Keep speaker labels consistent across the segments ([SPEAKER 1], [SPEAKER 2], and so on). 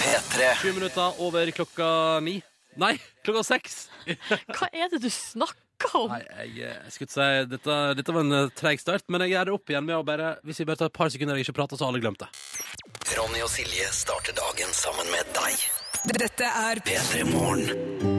[SPEAKER 1] P3.
[SPEAKER 2] Sju minutter over klokka ni. Nei, klokka seks!
[SPEAKER 3] Hva er det du snakker om?
[SPEAKER 2] Nei, jeg, eh, jeg skulle ikke si Dette, dette var en eh, treig start, men jeg gjør det opp igjen med å bare Hvis vi bare tar et par sekunder jeg ikke prater, så har alle glemt det.
[SPEAKER 1] Ronny og Silje starter dagen sammen med deg.
[SPEAKER 4] Dette er
[SPEAKER 1] P3 Morgen.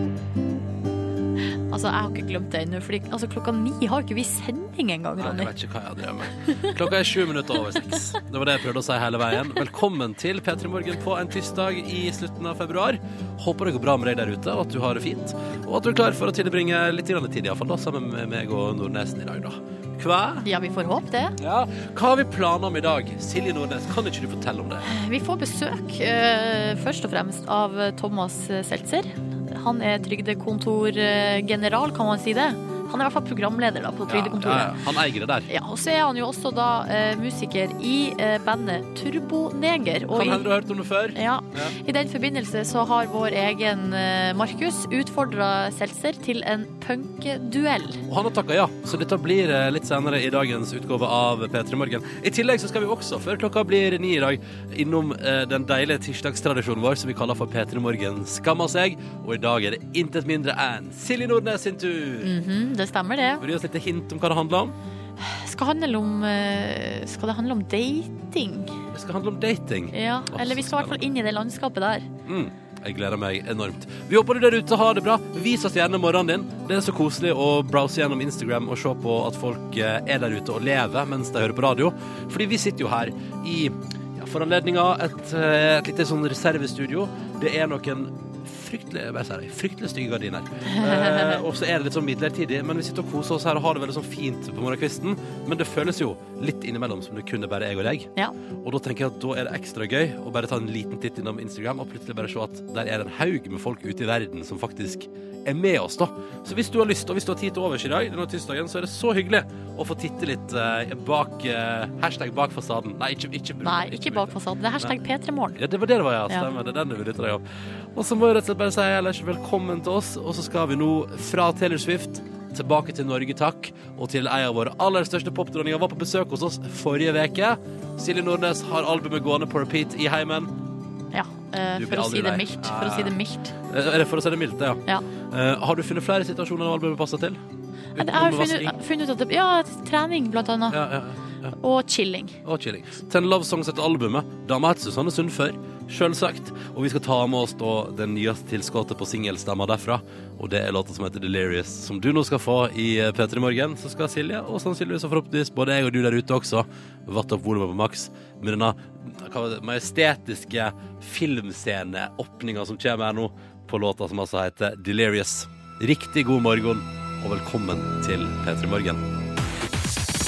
[SPEAKER 3] Altså, Jeg har ikke glemt det ennå. fordi, Altså, klokka ni har ikke vi sending engang,
[SPEAKER 2] Nei,
[SPEAKER 3] Ronny.
[SPEAKER 2] jeg vet ikke hva jeg har drevet med. Klokka er sju minutter over seks. Det var det jeg prøvde å si hele veien. Velkommen til P3 Morgen på en tirsdag i slutten av februar. Håper det går bra med deg der ute, og at du har det fint. Og at du er klar for å tilbringe litt grann tid, iallfall, sammen med meg og Nordnesen i dag, da. Hva?
[SPEAKER 3] Ja, vi får håpe det.
[SPEAKER 2] Ja, hva har vi planer om i dag? Silje Nordnes, kan ikke du fortelle om det?
[SPEAKER 3] Vi får besøk eh, først og fremst av eh, Thomas Seltzer. Han er trygdekontorgeneral, kan man si det? Han er i hvert fall programleder da,
[SPEAKER 2] Ja,
[SPEAKER 3] på
[SPEAKER 2] ja,
[SPEAKER 3] Trygdekontoret.
[SPEAKER 2] ja. Han eier det der.
[SPEAKER 3] Ja, og så er han jo også da eh, musiker i eh, bandet Turboneger. Og
[SPEAKER 2] Kan
[SPEAKER 3] i,
[SPEAKER 2] hende du har hørt om det før.
[SPEAKER 3] ja, I den forbindelse så har vår egen eh, Markus utfordra Seltzer til en punkeduell.
[SPEAKER 2] Og han har takka ja, så dette blir eh, litt senere i dagens utgave av P3 Morgen. I tillegg så skal vi også, før klokka blir ni i dag, innom eh, den deilige tirsdagstradisjonen vår som vi kaller for P3 Morgen skammer seg. Og i dag er det intet mindre enn Silje Nordnes sin tur.
[SPEAKER 3] Mhm, det stemmer, det.
[SPEAKER 2] Vil du gi oss litt hint om hva det handler om?
[SPEAKER 3] Skal, handle om, eh, skal det handle om dating?
[SPEAKER 2] Det skal handle om dating.
[SPEAKER 3] Ja,
[SPEAKER 2] Åh,
[SPEAKER 3] eller vi skal i hvert fall inn i det landskapet der.
[SPEAKER 2] Mm. Jeg gleder meg enormt. Vi håper du der ute har det bra. Vis oss gjerne morgenen din. Det er så koselig å browse gjennom Instagram og se på at folk eh, er der ute og lever mens de hører på radio. Fordi vi sitter jo her i ja, for anledninga et, eh, et lite sånn reservestudio. Det er noen fryktelig, hva sier jeg, fryktelig stygge gardiner. Eh, og så er det litt sånn midlertidig, men vi sitter og koser oss her og har det veldig sånn fint på morgenkvisten. Men det føles jo litt innimellom som det kunne bare jeg og deg.
[SPEAKER 3] Ja.
[SPEAKER 2] Og da tenker jeg at da er det ekstra gøy å bare ta en liten titt innom Instagram og plutselig bare se at der er det en haug med folk ute i verden som faktisk er med oss, da. Så hvis du har lyst, og hvis du har tid til overs i dag, denne tirsdagen, så er det så hyggelig å få titte litt eh, bak eh, Hashtag bak fasaden. Nei, ikke, ikke bruk
[SPEAKER 3] Nei, ikke bak fasaden. Det er hashtag P3morgen.
[SPEAKER 2] ja, det var det det var, ja.
[SPEAKER 3] Ja.
[SPEAKER 2] Stemmer. Det er den du vil lytte deg om. Og så må jeg rett og slett bare si ellers velkommen til oss, og så skal vi nå fra Taylor Swift tilbake til Norge, takk, og til ei av våre aller største popdronninger var på besøk hos oss forrige veke. Silje Nordnes har albumet gående på repeat i heimen.
[SPEAKER 3] Ja, eh,
[SPEAKER 2] Du
[SPEAKER 3] for
[SPEAKER 2] blir
[SPEAKER 3] å si
[SPEAKER 2] aldri
[SPEAKER 3] det
[SPEAKER 2] lei.
[SPEAKER 3] mildt. For å si det mildt.
[SPEAKER 2] Eh, Er det for å si det mildt, det, ja?
[SPEAKER 3] Ja.
[SPEAKER 2] Eh, har du funnet flere situasjoner der albumet passer til?
[SPEAKER 3] Jeg har
[SPEAKER 2] Utenom vasking?
[SPEAKER 3] funnet, funnet ut at det, Ja, trening, blant annet.
[SPEAKER 2] Ja, ja, ja.
[SPEAKER 3] Og chilling.
[SPEAKER 2] og chilling. Ten Love Songs etter albumet. Dama het Susanne Sund før, sjølsagt. Og vi skal ta med oss da det nyeste tilskuddet på singelstemma derfra. Og det er låta som heter Delirious, som du nå skal få i eh, P3 Morgen. Så skal Silje, og sannsynligvis og forhåpentligvis både jeg og du der ute også, vatte opp volumet på maks med denne hva var det, majestetiske filmsceneåpninga som kommer her nå, på låta som altså heter Delirious. Riktig god morgen, og velkommen til P3 Morgen.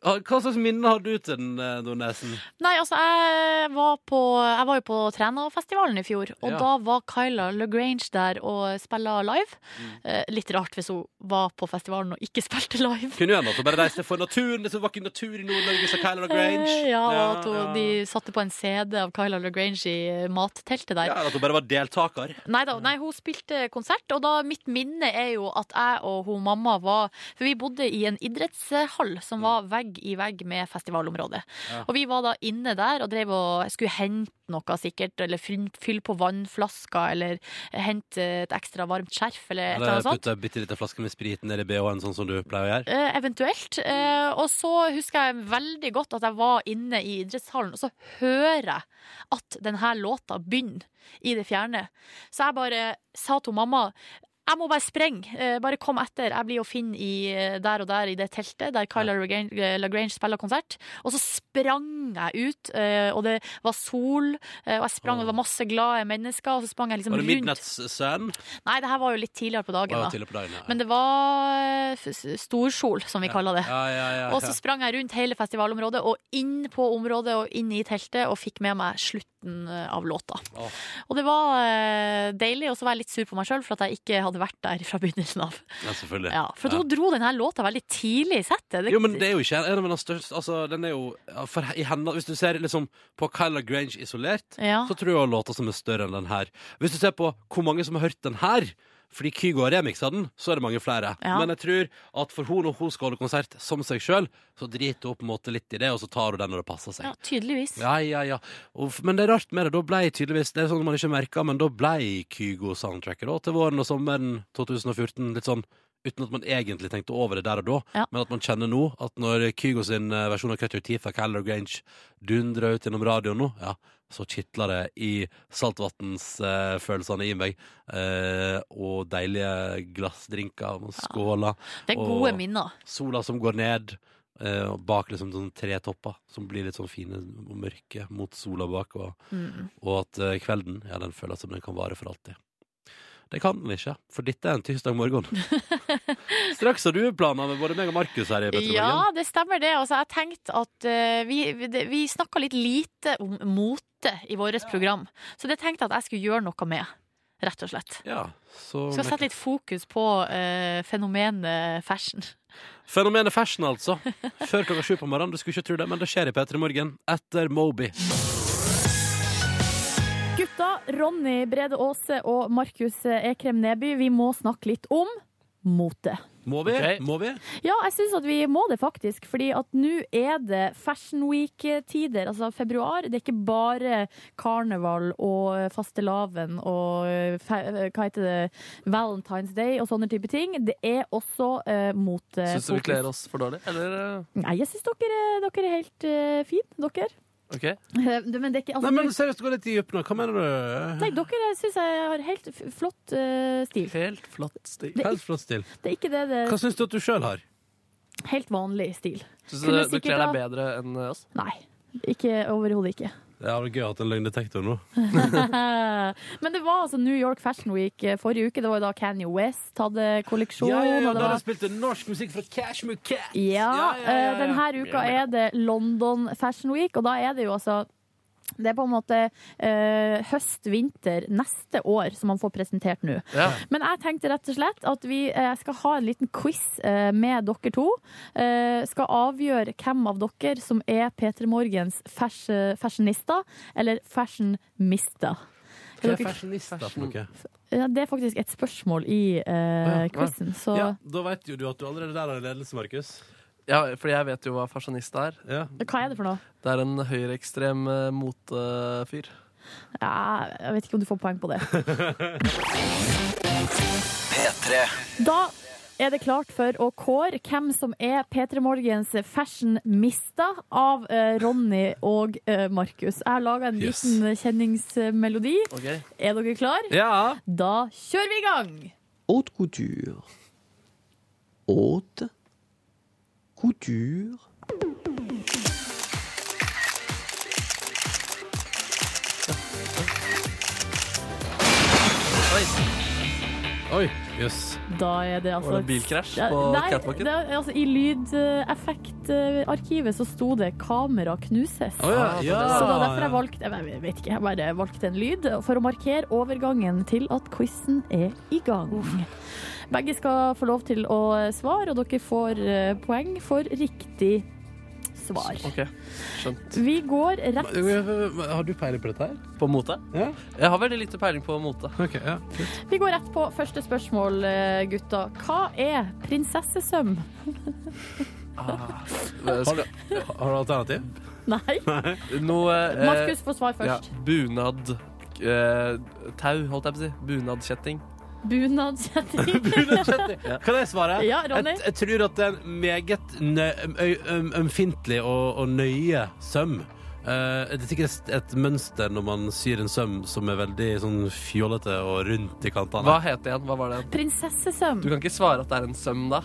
[SPEAKER 2] Ah, Hva slags minne har du til den, eh, Nordnesen?
[SPEAKER 3] Nei, altså, jeg var, på, jeg var jo på Trænafestivalen i fjor, og
[SPEAKER 2] Ja.
[SPEAKER 3] da var Kyla LaGrange der og spilla live.
[SPEAKER 2] Mm.
[SPEAKER 3] Eh, litt rart hvis hun var på festivalen og ikke spilte live.
[SPEAKER 2] Kunne jo hende at hun bare reiste for naturen. Det var ikke natur i Nord-Norge, sa Canada Grange.
[SPEAKER 3] Eh, Ja, og at hun,
[SPEAKER 2] ja.
[SPEAKER 3] de satte på en CD av Kyla LaGrange i eh, matteltet der.
[SPEAKER 2] Ja, eller at hun bare var deltaker.
[SPEAKER 3] Nei da, nei, hun spilte konsert, og da mitt minne er jo at jeg og hun mamma var For vi bodde i en idrettshall som var vegg i vegg med festivalområdet.
[SPEAKER 2] Ja.
[SPEAKER 3] Og vi var da inne der og drev og skulle hente noe sikkert, eller fylle fylle på vannflasker, eller hente et ekstra varmt skjerf, eller et eller
[SPEAKER 2] Eller
[SPEAKER 3] annet sånt.
[SPEAKER 2] putta ei bitte lita flaske med sprit ned i BH-en, sånn som du pleier å gjøre.
[SPEAKER 3] Eh, eventuelt. Eh, og så husker jeg veldig godt at jeg var inne i idrettshallen, og så hører jeg at denne låta begynner i det fjerne. Så jeg bare sa til mamma jeg må bare sprenge. Eh, bare kom etter. Jeg blir å finne i, eh, der og der i det teltet der Kyla Regan- eh, LaGrange spiller konsert. Og så sprang jeg ut, eh, og det var sol, eh, og jeg sprang, og det var masse glade mennesker. Og så sprang jeg liksom
[SPEAKER 2] Var det
[SPEAKER 3] rundt.
[SPEAKER 2] Midnatts Sun?
[SPEAKER 3] Nei, det her var jo litt tidligere på dagen.
[SPEAKER 2] Var
[SPEAKER 3] da.
[SPEAKER 2] jo tidlig på dagen, ja.
[SPEAKER 3] Men det var eh, f- storsol, som vi kaller det.
[SPEAKER 2] Ja, ja, ja,
[SPEAKER 3] Og så sprang jeg rundt hele festivalområdet og inn på området og inn i teltet og fikk med meg slutten eh, av låta.
[SPEAKER 2] Åh.
[SPEAKER 3] Og det var eh, deilig, og så var jeg litt sur på meg sjøl for at jeg ikke
[SPEAKER 5] hadde vært der fra begynnelsen av.
[SPEAKER 4] Ja, selvfølgelig.
[SPEAKER 5] Ja, for da dro denne låta veldig tidlig i settet. Det-
[SPEAKER 4] Jo, men det er jo ikke en av de største Altså, den er jo ja, for, i henne, Hvis du ser liksom på Kyla Grange isolert,
[SPEAKER 5] ja.
[SPEAKER 4] så tror jeg hun har låter som er større enn den her. Hvis du ser på hvor mange som har hørt den her, fordi Kygo har remiksa den, så er det mange flere.
[SPEAKER 5] Ja.
[SPEAKER 4] Men jeg tror at for hun når hun skal holde konsert som seg sjøl, så driter hun på en måte litt i det, og så tar hun den når det passer seg.
[SPEAKER 5] ja, tydeligvis.
[SPEAKER 4] Ja, ja, ja. Og, f- men det er rart med det. Da ble tydeligvis Det er sånn man ikke merker, men da ble Kygo-soundtracket da til våren og sommeren 2014 litt sånn Uten at man egentlig tenkte over det der og da,
[SPEAKER 5] Ja.
[SPEAKER 4] men at man kjenner nå at når Kygo sin eh, versjon av Cut Your Teeth av Caller Grange dundrer ut gjennom radioen nå, ja, så kitler det i saltvannsfølelsene i meg. Eh, og deilige glassdrinker og skåler.
[SPEAKER 5] Det er
[SPEAKER 4] og-
[SPEAKER 5] gode minner.
[SPEAKER 4] Sola som går ned eh, og bak liksom sånn tre topper som blir litt sånn fine og mørke mot sola bak, og,
[SPEAKER 5] Mm.
[SPEAKER 4] og at eh, kvelden ja, den føles som den kan vare for alltid. Det kan den ikke, for dette er en tirsdag morgen. Straks har du planer med både meg og Markus her i Petter Morgen.
[SPEAKER 5] Ja, det stemmer det. Altså, jeg tenkte at eh, vi, vi- det- vi snakka litt lite om mote i vårt program, så det tenkte jeg at jeg skulle gjøre noe med, rett og slett.
[SPEAKER 4] Ja, så
[SPEAKER 5] Skal sette litt fokus på eh, fenomenet fashion.
[SPEAKER 4] Fenomenet fashion, altså. Før klokka sju på morgenen. Du skulle ikke tro det, men det skjer i P3 Morgen etter Moby.
[SPEAKER 3] Gutta, Ronny Brede Aase og Markus Ekrem Neby, vi må snakke litt om mote.
[SPEAKER 4] Må vi?
[SPEAKER 2] Ok.
[SPEAKER 4] Må vi?
[SPEAKER 3] Ja, jeg syns at vi må det, faktisk. Fordi at nå er det Fashion Week-tider, altså februar. Det er ikke bare karneval og eh, fastelavn og eh, fe hva heter det, Valentine's Day og sånne type ting. Det er også uh, mote.
[SPEAKER 2] Syns du vi kler oss for dårlig? Eller eh,
[SPEAKER 3] Nei, jeg syns dere, dere er helt uh, fine, dere.
[SPEAKER 2] OK?
[SPEAKER 3] Eh, Men det er ikke altså,
[SPEAKER 4] Nei, men seriøst, gå litt i dypet nå. Hva mener du?
[SPEAKER 3] Nei, dere syns jeg har helt f flott eh, stil.
[SPEAKER 2] Helt flatt stil.
[SPEAKER 3] Det-
[SPEAKER 4] Helt flott stil.
[SPEAKER 3] Det er ikke det det
[SPEAKER 4] Hva syns du at du sjøl har?
[SPEAKER 3] Helt vanlig stil.
[SPEAKER 2] Syns du
[SPEAKER 3] Kunne
[SPEAKER 2] det- du
[SPEAKER 3] sikkert
[SPEAKER 2] kler
[SPEAKER 3] ha-
[SPEAKER 2] deg bedre enn eh, oss?
[SPEAKER 3] Nei. Ikke Overhodet ikke.
[SPEAKER 4] Det hadde vært gøy å ha hatt en løgndetektor nå.
[SPEAKER 3] Men det var altså New York Fashion Week eh, forrige uke. Det var jo da Kanye West hadde kolleksjon.
[SPEAKER 4] Ja, ja, ja,
[SPEAKER 3] og det
[SPEAKER 4] da
[SPEAKER 3] var-
[SPEAKER 4] de spilte norsk musikk fra Cashmere Cat.
[SPEAKER 3] Ja, eh, denne uka er det London Fashion Week, og da er det jo altså det er på en måte eh, høst-vinter neste år som man får presentert nå.
[SPEAKER 2] Ja.
[SPEAKER 3] Men jeg tenkte rett og slett at vi eh, skal ha en liten quiz eh, med dere to. Eh, skal avgjøre hvem av dere som er P3 Morgens fas fashionista, eller fashionmista. Er dere,
[SPEAKER 4] fashionista for noe?
[SPEAKER 3] ja, det er faktisk et spørsmål i uh,
[SPEAKER 2] ja.
[SPEAKER 3] quizen, så
[SPEAKER 4] Ja, da vet jo du at du allerede der har en ledelse, Markus.
[SPEAKER 2] ja, fordi jeg vet jo hva fasjonist er.
[SPEAKER 4] Ja.
[SPEAKER 3] hva er det for noe?
[SPEAKER 2] Det er en høyreekstrem eh, motefyr.
[SPEAKER 3] Ja, jeg vet ikke om du får poeng på det.
[SPEAKER 1] P3.
[SPEAKER 3] Da er det klart for å kåre hvem som er P3 Morgens fashionmista av eh, Ronny og eh, Markus. Jeg har laga en
[SPEAKER 4] Yes.
[SPEAKER 3] liten kjenningsmelodi.
[SPEAKER 2] Ok.
[SPEAKER 3] Er dere klar?
[SPEAKER 4] Ja.
[SPEAKER 3] Da kjører vi i gang!
[SPEAKER 6] haute couture, haute couture.
[SPEAKER 4] Oi. Jøss.
[SPEAKER 3] Da er det altså
[SPEAKER 2] Var det bilkrasj på
[SPEAKER 3] nei,
[SPEAKER 2] catwalken?
[SPEAKER 3] det er- altså, I lydeffektarkivet så sto det 'kamera knuses'.
[SPEAKER 4] Å ja.
[SPEAKER 2] Ah,
[SPEAKER 4] ja.
[SPEAKER 3] Så det var derfor jeg valgte Jeg vet ikke, jeg bare valgte en lyd for å markere overgangen til at quizen er i gang. Begge skal få lov til å svare, og dere får eh, poeng for riktig svar.
[SPEAKER 2] OK, skjønt.
[SPEAKER 3] Vi går rett
[SPEAKER 4] Ja. Har du peiling på dette her?
[SPEAKER 2] På mote?
[SPEAKER 4] Ja.
[SPEAKER 2] Jeg har veldig lite peiling på mote.
[SPEAKER 4] Ok, ja.
[SPEAKER 3] Vi går rett på første spørsmål, eh, gutta. Hva er prinsessesøm?
[SPEAKER 2] Ah.
[SPEAKER 4] Har, du, har du alternativ?
[SPEAKER 3] Nei.
[SPEAKER 2] Noe eh,
[SPEAKER 3] Markus får svar først.
[SPEAKER 2] Ja, bunad eh, Tau, holdt jeg på å si. Bunadkjetting.
[SPEAKER 3] Bunadskjetting.
[SPEAKER 4] Kan jeg svare?
[SPEAKER 3] Ja, Ronny.
[SPEAKER 4] Jeg, jeg tror at det er en meget nø- ø- øm- ømfintlig og, og nøye søm. Eh, det er sikkert et mønster når man syr en søm som er veldig sånn fjollete og rundt i kantene.
[SPEAKER 2] Hva het det igjen? Hva var det?
[SPEAKER 3] Prinsessesøm.
[SPEAKER 2] Du kan ikke svare at det er en søm, da.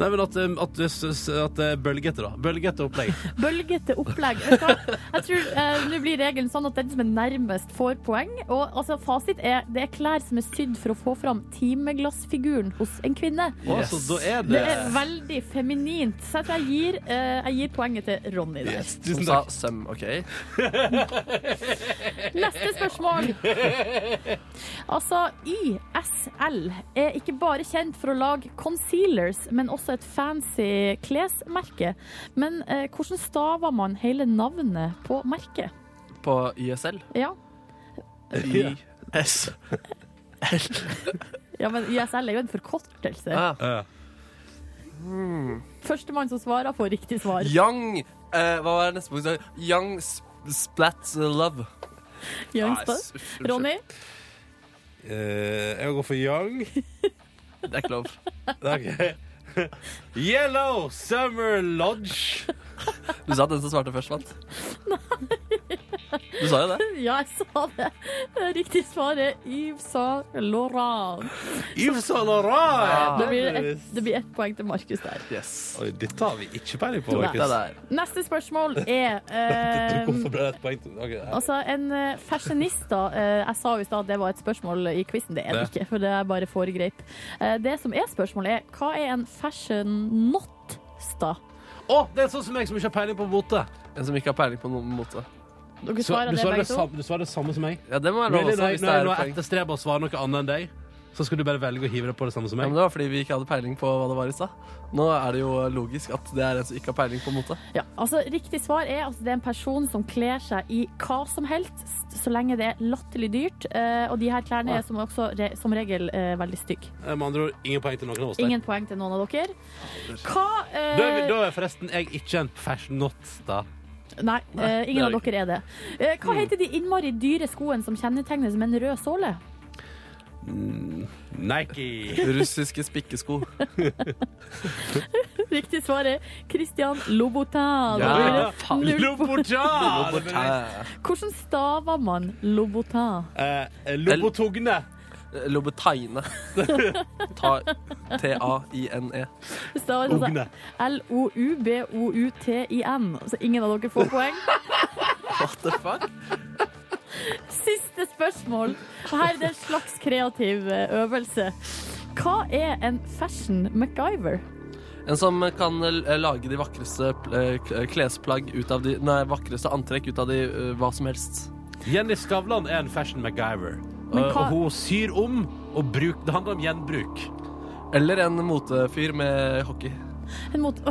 [SPEAKER 4] Nei, men at, um, at, du s- s- at det er bølgete, da. Bølgete opplegg.
[SPEAKER 3] Bølgete opplegg. Vet du hva? Jeg tror eh, Nå blir regelen sånn at den som er nærmest, får poeng. Og altså, fasit er det er klær som er sydd for å få fram timeglassfiguren hos en kvinne.
[SPEAKER 4] Å,
[SPEAKER 2] Yes.
[SPEAKER 4] Så da er
[SPEAKER 3] Det
[SPEAKER 4] det
[SPEAKER 3] er veldig feminint. Så jeg tror jeg gir, eh, jeg gir poenget til Ronny der.
[SPEAKER 4] Yes,
[SPEAKER 2] Som
[SPEAKER 4] tusen
[SPEAKER 2] sa
[SPEAKER 4] takk.
[SPEAKER 2] søm, OK?
[SPEAKER 3] Neste spørsmål. Altså, i YSL er ikke bare kjent for å lage concealers, men også et fancy klesmerke. Men eh, hvordan staver man hele navnet på merket?
[SPEAKER 2] På YSL.
[SPEAKER 3] Ja.
[SPEAKER 2] YSL.
[SPEAKER 3] ja, men YSL er jo en forkortelse.
[SPEAKER 2] Ah.
[SPEAKER 4] Eh,
[SPEAKER 3] Førstemann som svarer, får riktig svar.
[SPEAKER 2] Young eh, Hva var neste punkt? Young sp Splat Love.
[SPEAKER 3] Young
[SPEAKER 2] Nei,
[SPEAKER 3] Spud.
[SPEAKER 2] s- unnskyld.
[SPEAKER 3] Ronny?
[SPEAKER 4] eh, jeg går for Young.
[SPEAKER 2] Det er ikke lov.
[SPEAKER 4] Ok. Yellow Summer Lodge.
[SPEAKER 2] Du sa at den som svarte først, vant. Du sa jo det.
[SPEAKER 3] Ja, jeg sa det. Riktig svar er Yves Saint Laurent.
[SPEAKER 4] Yves Saint Laurent.
[SPEAKER 3] Det blir, et, det blir ett poeng til Markus der.
[SPEAKER 2] Yes.
[SPEAKER 4] Oi, dette har vi ikke peiling på,
[SPEAKER 2] Det Um,
[SPEAKER 4] Markus.
[SPEAKER 2] der.
[SPEAKER 3] Neste spørsmål er eh,
[SPEAKER 4] Hvorfor ble det et poeng til Ok, ja.
[SPEAKER 3] Altså, en eh, fashionista eh, Jeg sa jo i stad at det var et spørsmål i quizen. Det er det
[SPEAKER 4] Det.
[SPEAKER 3] ikke, for det er bare foregreip. Eh, det som er spørsmålet, er hva er en fashion-notsta?
[SPEAKER 4] Å, det er sånn som meg som ikke har peiling på mote.
[SPEAKER 2] En som ikke har peiling på noen måte.
[SPEAKER 3] Dere
[SPEAKER 4] Så,
[SPEAKER 3] svarer
[SPEAKER 4] du,
[SPEAKER 3] det
[SPEAKER 4] svarer
[SPEAKER 3] begge
[SPEAKER 4] det
[SPEAKER 3] to.
[SPEAKER 4] samme, du svarer det samme som meg.
[SPEAKER 2] Ja, det må være lov
[SPEAKER 4] Really,
[SPEAKER 2] også,
[SPEAKER 4] når,
[SPEAKER 2] hvis
[SPEAKER 4] jeg-
[SPEAKER 2] det
[SPEAKER 4] når jeg
[SPEAKER 2] er
[SPEAKER 4] nå
[SPEAKER 2] et poeng.
[SPEAKER 4] etterstreber å svare noe annet enn deg, så skal du bare velge å hive deg på det samme som
[SPEAKER 2] Ja, men
[SPEAKER 4] meg.
[SPEAKER 2] det var fordi vi ikke hadde peiling på hva det var i stad. Nå er det jo logisk at det er en som ikke har peiling på mote.
[SPEAKER 3] Ja, altså, riktig svar er at det er en person som kler seg i hva som helst, s- så lenge det er latterlig dyrt. eh, og de her klærne er som, også, re, som regel eh, veldig stygge.
[SPEAKER 4] Eh, Med andre ord, ingen poeng til noen av oss. der.
[SPEAKER 3] Ingen poeng til noen av dere. Hva eh,
[SPEAKER 4] Da er, vi- da er forresten jeg ikke en fashion not, da.
[SPEAKER 3] Nei, eh, ingen av
[SPEAKER 2] det
[SPEAKER 3] dere er det. Eh, hva heter de innmari dyre skoene som kjennetegnes med en rød såle?
[SPEAKER 4] Nike.
[SPEAKER 2] Russiske spikkesko.
[SPEAKER 3] Riktig svar er Christian Lobotin.
[SPEAKER 2] Ja,
[SPEAKER 3] Da blir det
[SPEAKER 2] faen.
[SPEAKER 3] null poeng.
[SPEAKER 4] Lobotan! Det blir-
[SPEAKER 2] Louboutin.
[SPEAKER 3] Hvordan staver man Lobotin?
[SPEAKER 4] Eh, eh, Lobotogne.
[SPEAKER 2] Louboutin. Ta- T-a-i-n-e.
[SPEAKER 3] Det staves altså
[SPEAKER 4] Ogne.
[SPEAKER 3] L-O-U-B-O-U-T-I-N. Så Altså, ingen av dere får poeng.
[SPEAKER 2] What the fuck?
[SPEAKER 3] Siste spørsmål. Og Her er det en slags kreativ eh, øvelse. Hva er en fashion MacGyver?
[SPEAKER 2] En som kan eh, lage de vakreste eh, k- klesplagg ut av de Nei, vakreste antrekk ut av de eh, hva som helst.
[SPEAKER 4] Jenny Skavlan er en fashion MacGyver.
[SPEAKER 3] Men
[SPEAKER 4] Eh,
[SPEAKER 3] hva-
[SPEAKER 4] Og hun syr om og bruk, Det handler om gjenbruk.
[SPEAKER 2] Eller en motefyr med hockey.
[SPEAKER 3] En mot...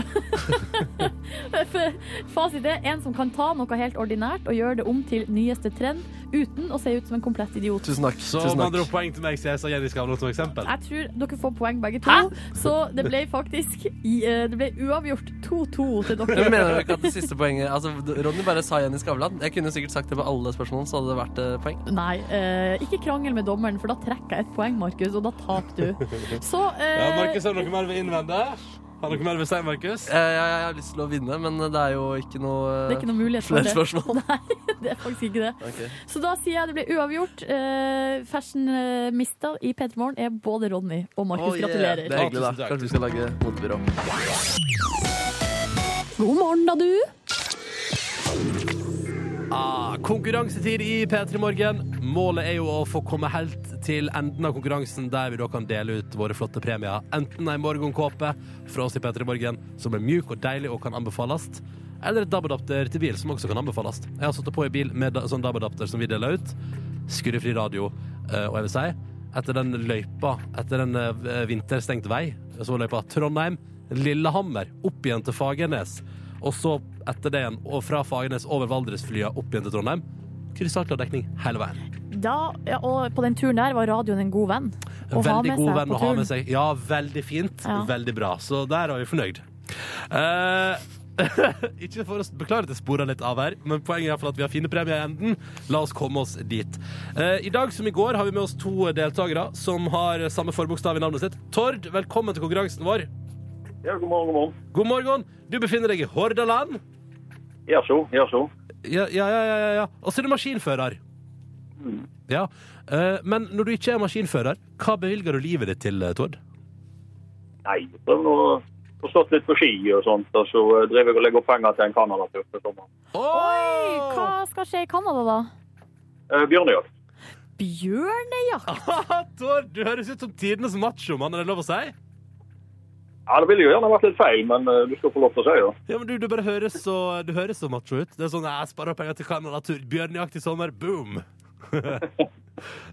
[SPEAKER 3] Fasit er en som kan ta noe helt ordinært og gjøre det om til nyeste trend uten å se ut som en komplett idiot.
[SPEAKER 2] Tusen takk.
[SPEAKER 4] Så
[SPEAKER 2] tusen
[SPEAKER 4] med andre ord
[SPEAKER 2] takk.
[SPEAKER 4] poeng til meg, så jeg sa Jenny Skavlan som eksempel.
[SPEAKER 3] Jeg tror dere får poeng begge to, så det ble faktisk i- eh, Det ble uavgjort 2-2 til dere.
[SPEAKER 2] Jeg mener jo ikke at det siste poenget Altså, Ronny bare sa Jenny Skavlan. Jeg kunne sikkert sagt det på alle spørsmålene, så hadde det vært eh, poeng.
[SPEAKER 3] Nei, eh, ikke krangel med dommeren, for da trekker jeg ett poeng, Markus, og da taper du. Så
[SPEAKER 4] Ja,
[SPEAKER 3] eh,
[SPEAKER 4] Markus, har du noe mer du vil innvende? Har du noe mer du vil si, Markus?
[SPEAKER 2] Eh, Jeg, jeg har lyst til å vinne, men det er jo ikke noe eh,
[SPEAKER 3] det er ikke noe mulighet for
[SPEAKER 2] flere
[SPEAKER 3] det.
[SPEAKER 2] spørsmål.
[SPEAKER 3] Det er faktisk ikke det.
[SPEAKER 2] Ok.
[SPEAKER 3] Så da sier jeg det ble uavgjort. Eh, fashion eh, mista i P3 Morgen er både Ronny og Markus.
[SPEAKER 2] Oh, yeah.
[SPEAKER 3] Gratulerer.
[SPEAKER 2] Det er hyggelig,
[SPEAKER 4] Å, tusen
[SPEAKER 2] da.
[SPEAKER 4] takk,
[SPEAKER 2] Kanskje vi
[SPEAKER 4] tusen
[SPEAKER 2] skal lage motebyrå.
[SPEAKER 3] God morgen, da, du.
[SPEAKER 4] Ah, konkurransetid i P3 Morgen. Målet er jo å få komme helt til enden av konkurransen, der vi da kan dele ut våre flotte premier. Enten ei morgenkåpe fra oss i P3 Morgen, som er mjuk og deilig og kan anbefales, eller et DAB-adapter til bil, som også kan anbefales. Jeg har satt på i bil med da- sånn DAB-adapter som vi deler ut. Skurrefri radio, eh, og jeg vil si etter den løypa, etter en eh, vinterstengt vei, så var løypa Trondheim, Lillehammer, opp igjen til Fagernes, og så etter det igjen, og fra Fagernes over Valdresflya opp igjen til Trondheim. Krystallklar dekning hele veien.
[SPEAKER 3] Da, ja, og på den turen der var radioen en god venn. Å ha
[SPEAKER 4] veldig
[SPEAKER 3] med
[SPEAKER 4] god
[SPEAKER 3] seg
[SPEAKER 4] venn
[SPEAKER 3] på
[SPEAKER 4] å ha
[SPEAKER 3] turen.
[SPEAKER 4] med seg. Ja, veldig fint.
[SPEAKER 3] Ja.
[SPEAKER 4] Veldig bra. Så der er vi fornøyd. Eh, ikke for å beklage at jeg spora litt av her, men poenget er i hvert fall at vi har fine premier i enden. La oss komme oss dit. Eh, I dag som i går har vi med oss to deltakere som har samme forbokstav i navnet sitt. Tord, velkommen til konkurransen vår.
[SPEAKER 7] Ja, god morgen, god morgen.
[SPEAKER 4] God morgen. Du befinner deg i Hordaland.
[SPEAKER 7] Ja, så, ja, så.
[SPEAKER 4] Ja, ja, ja, ja, ja, ja. Og så er du maskinfører. Ja. Eh, men når du ikke er maskinfører, hva bevilger du livet ditt til, eh, Tord?
[SPEAKER 7] Nei, prøv nå å få stått litt på ski og sånt, og så eh, driver jeg og legger opp penger til en Canada-tur til sommeren.
[SPEAKER 3] Oi, hva skal skje i Canada, da?
[SPEAKER 7] Eh, Bjørnejakt.
[SPEAKER 3] Bjørnejakt?
[SPEAKER 4] Tord, du høres ut som tidenes machomann, er det lov å si?
[SPEAKER 7] Ja, det ville jo gjerne vært litt feil, men eh, du skal få lov til å si det.
[SPEAKER 4] Ja, men du, du bare høres så, du høres så macho ut. Det er sånn jeg sparer penger til Canada-tur, bjørnejakt i sommer, boom!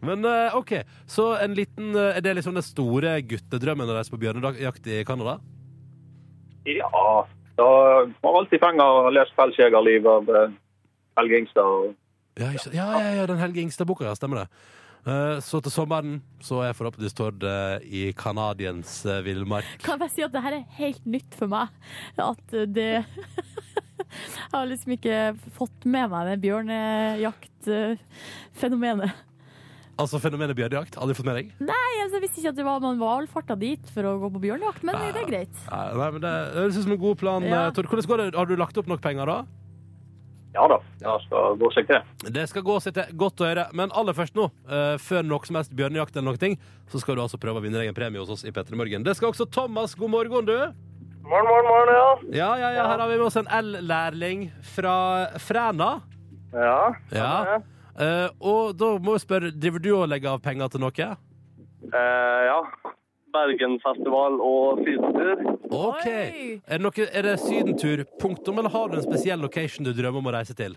[SPEAKER 4] Men eh, OK, så en liten eh, Er det liksom den store guttedrømmen å reise på bjørnejakt i Canada?
[SPEAKER 7] Ja, da har alltid fanga og lest Fellsjegerliv av eh, Helge Ingstad. og-
[SPEAKER 4] Ja, ikke, ja, ja, ja, den Helge Ingstad-boka, ja. Stemmer det. Eh, så til sommeren så er forhåpentligvis Tord eh, i Canadiens eh, villmark.
[SPEAKER 3] Kan jeg bare si at det her er helt nytt for meg. At det Jeg har liksom ikke fått med meg det bjørnejaktfenomenet.
[SPEAKER 4] Altså fenomenet bjørnejakt. Aldri fått med deg?
[SPEAKER 3] Nei, altså, jeg visste ikke at det var man valfarta dit for å gå på bjørnejakt, men det er greit.
[SPEAKER 4] Nei, nei, men Det det høres ut som en god plan.
[SPEAKER 3] Ja.
[SPEAKER 4] eh, Tord, hvordan går det? Har du lagt opp nok penger, da?
[SPEAKER 7] Ja da, det skal gå seg til.
[SPEAKER 4] Det skal gå seg til godt å høre, men aller først nå, eh, før noe som helst bjørnejakt eller noe, ting, så skal du altså prøve å vinne deg en premie hos oss i Petter i Morgen. Det skal også Thomas. God morgen, du.
[SPEAKER 8] Morgen, morgen, morgen, ja.
[SPEAKER 4] Ja, ja, ja, her har vi med oss en L-lærling fra Fræna.
[SPEAKER 8] Ja,
[SPEAKER 4] Ja. Eh, og da må jeg spørre, driver du og legger av penger til noe?
[SPEAKER 8] eh, ja. Bergenfestival og sydentur.
[SPEAKER 4] OK.
[SPEAKER 3] Oi.
[SPEAKER 4] Er det, noe, er det sydentur, punktum, eller har du en spesiell location du drømmer om å reise til?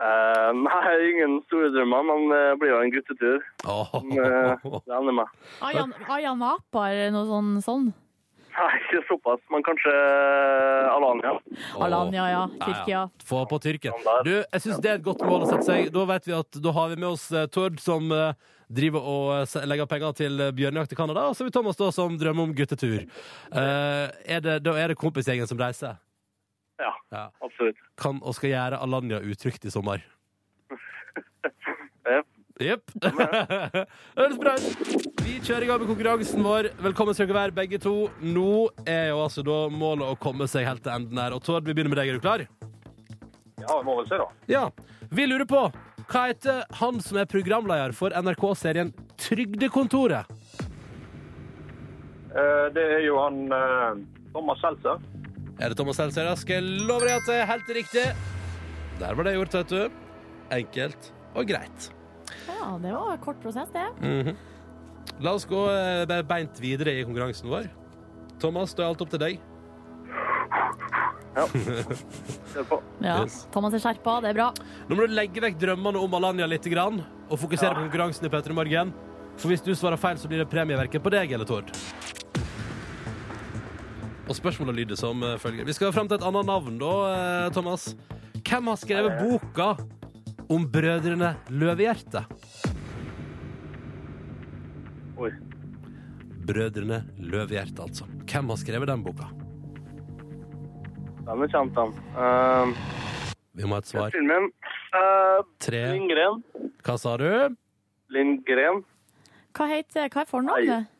[SPEAKER 8] Eh, nei, ingen store drømmer, men eh, det blir jo en guttetur.
[SPEAKER 4] Åh.
[SPEAKER 8] Eh, det ender meg.
[SPEAKER 3] Ayan- Ayanapa eller noe sånn. sånn.
[SPEAKER 8] Nei, ikke såpass, men kanskje eh, Alanya.
[SPEAKER 3] Alanya, ja. Tyrkia.
[SPEAKER 4] Få på tyrken. Du, jeg syns det er et godt mål å sette seg. Da vet vi at da har vi med oss eh, Tord, som eh, driver og eh, se- legger penger til eh, bjørnejakt i Canada, og så har vi Thomas, da, som drømmer om guttetur. Eh, er det, da er det kompisgjengen som reiser?
[SPEAKER 8] Ja,
[SPEAKER 4] Ja.
[SPEAKER 8] absolutt.
[SPEAKER 4] Kan og skal gjøre Alanya utrygt i sommer.
[SPEAKER 8] Jep.
[SPEAKER 4] Jepp. Høres bra ut. Vi kjører i gang med konkurransen vår. Velkommen skal dere være, begge to. Nå er jo altså da målet å komme seg helt til enden her. Og Tord, vi begynner med deg. Er du klar?
[SPEAKER 7] Ja, vi må vel se, da.
[SPEAKER 4] Ja. Vi lurer på hva heter han som er programleder for NRK-serien Trygdekontoret?
[SPEAKER 7] Eh, Det er jo han eh, Thomas Seltzer.
[SPEAKER 4] Er det Thomas Seltzer? Jeg Skal jeg love deg at det er helt riktig. Der var det gjort, vet du. Enkelt og greit.
[SPEAKER 3] Ja, det var en kort prosess, det.
[SPEAKER 4] La oss gå eh, be- beint videre i konkurransen vår. Thomas, da er alt opp til deg.
[SPEAKER 8] Kjør på.
[SPEAKER 3] Ja.
[SPEAKER 4] Yes.
[SPEAKER 3] Thomas er skjerpa, det er bra.
[SPEAKER 4] Nå må du legge vekk drømmene om Alanya litt grann, og fokusere på konkurransen i Petter i morgen. For hvis du svarer feil, så blir det premie verken på deg eller Tord. Og spørsmålet lyder som eh, følger. Vi skal fram til et annet navn da, eh, Thomas. Hvem har skrevet boka om brødrene Løvehjerte?
[SPEAKER 8] Oi.
[SPEAKER 4] Brødrene Løvehjerte, altså. Hvem har skrevet den boka?
[SPEAKER 8] Den er kjent, den. Eh,
[SPEAKER 4] Vi må ha et svar.
[SPEAKER 8] filmen eh,
[SPEAKER 4] Tre.
[SPEAKER 8] Lindgren.
[SPEAKER 4] Hva sa du?
[SPEAKER 8] Lindgren.
[SPEAKER 3] Hva, heter, hva er fornavnet?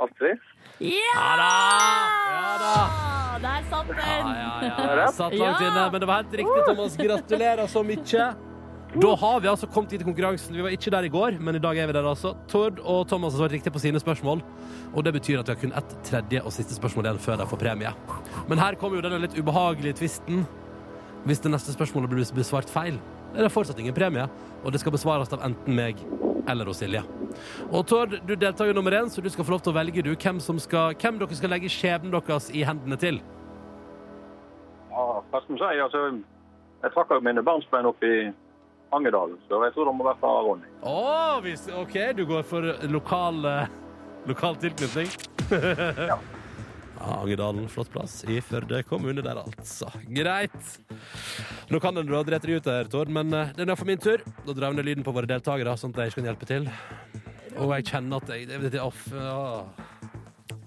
[SPEAKER 8] Astrid.
[SPEAKER 3] Ja!
[SPEAKER 4] Ja da! Ja da!
[SPEAKER 3] Der satt den!
[SPEAKER 4] Ja, ja, ja. Satt langt inne, men det var helt riktig, Thomas. Gratulerer så mye. Da har vi altså kommet hit til konkurransen. Vi var ikke der i går, men i dag er vi der altså. Tord og Thomas har svart riktig på sine spørsmål, og det betyr at vi har kun ett tredje og siste spørsmål igjen før de får premie. Men her kommer jo denne litt ubehagelige tvisten. Hvis det neste spørsmålet blir besvart feil, er det fortsatt ingen premie, og det skal besvares av enten meg eller hos Silje. Og Tord, du er deltaker nummer én, så du skal få lov til å velge du, hvem, som skal, hvem dere skal legge skjebnen deres i hendene til.
[SPEAKER 7] Ja, hva skal man si? Altså, jeg trakk jo mine barnsbein opp i Angedalen, så jeg tror det må være fra Ronny.
[SPEAKER 4] Å, hvis, OK, du går for lokal, eh, lokal tilknytning? ja. Angedalen, flott plass i Førde kommune der, altså. Greit. Nå kan den du ha drept deg ut der, Tord, men eh, det er nå for min tur. Da drar vi ned lyden på våre deltakere, sånn at de ikke kan hjelpe til. Og jeg kjenner at jeg det, det, det, off, ja.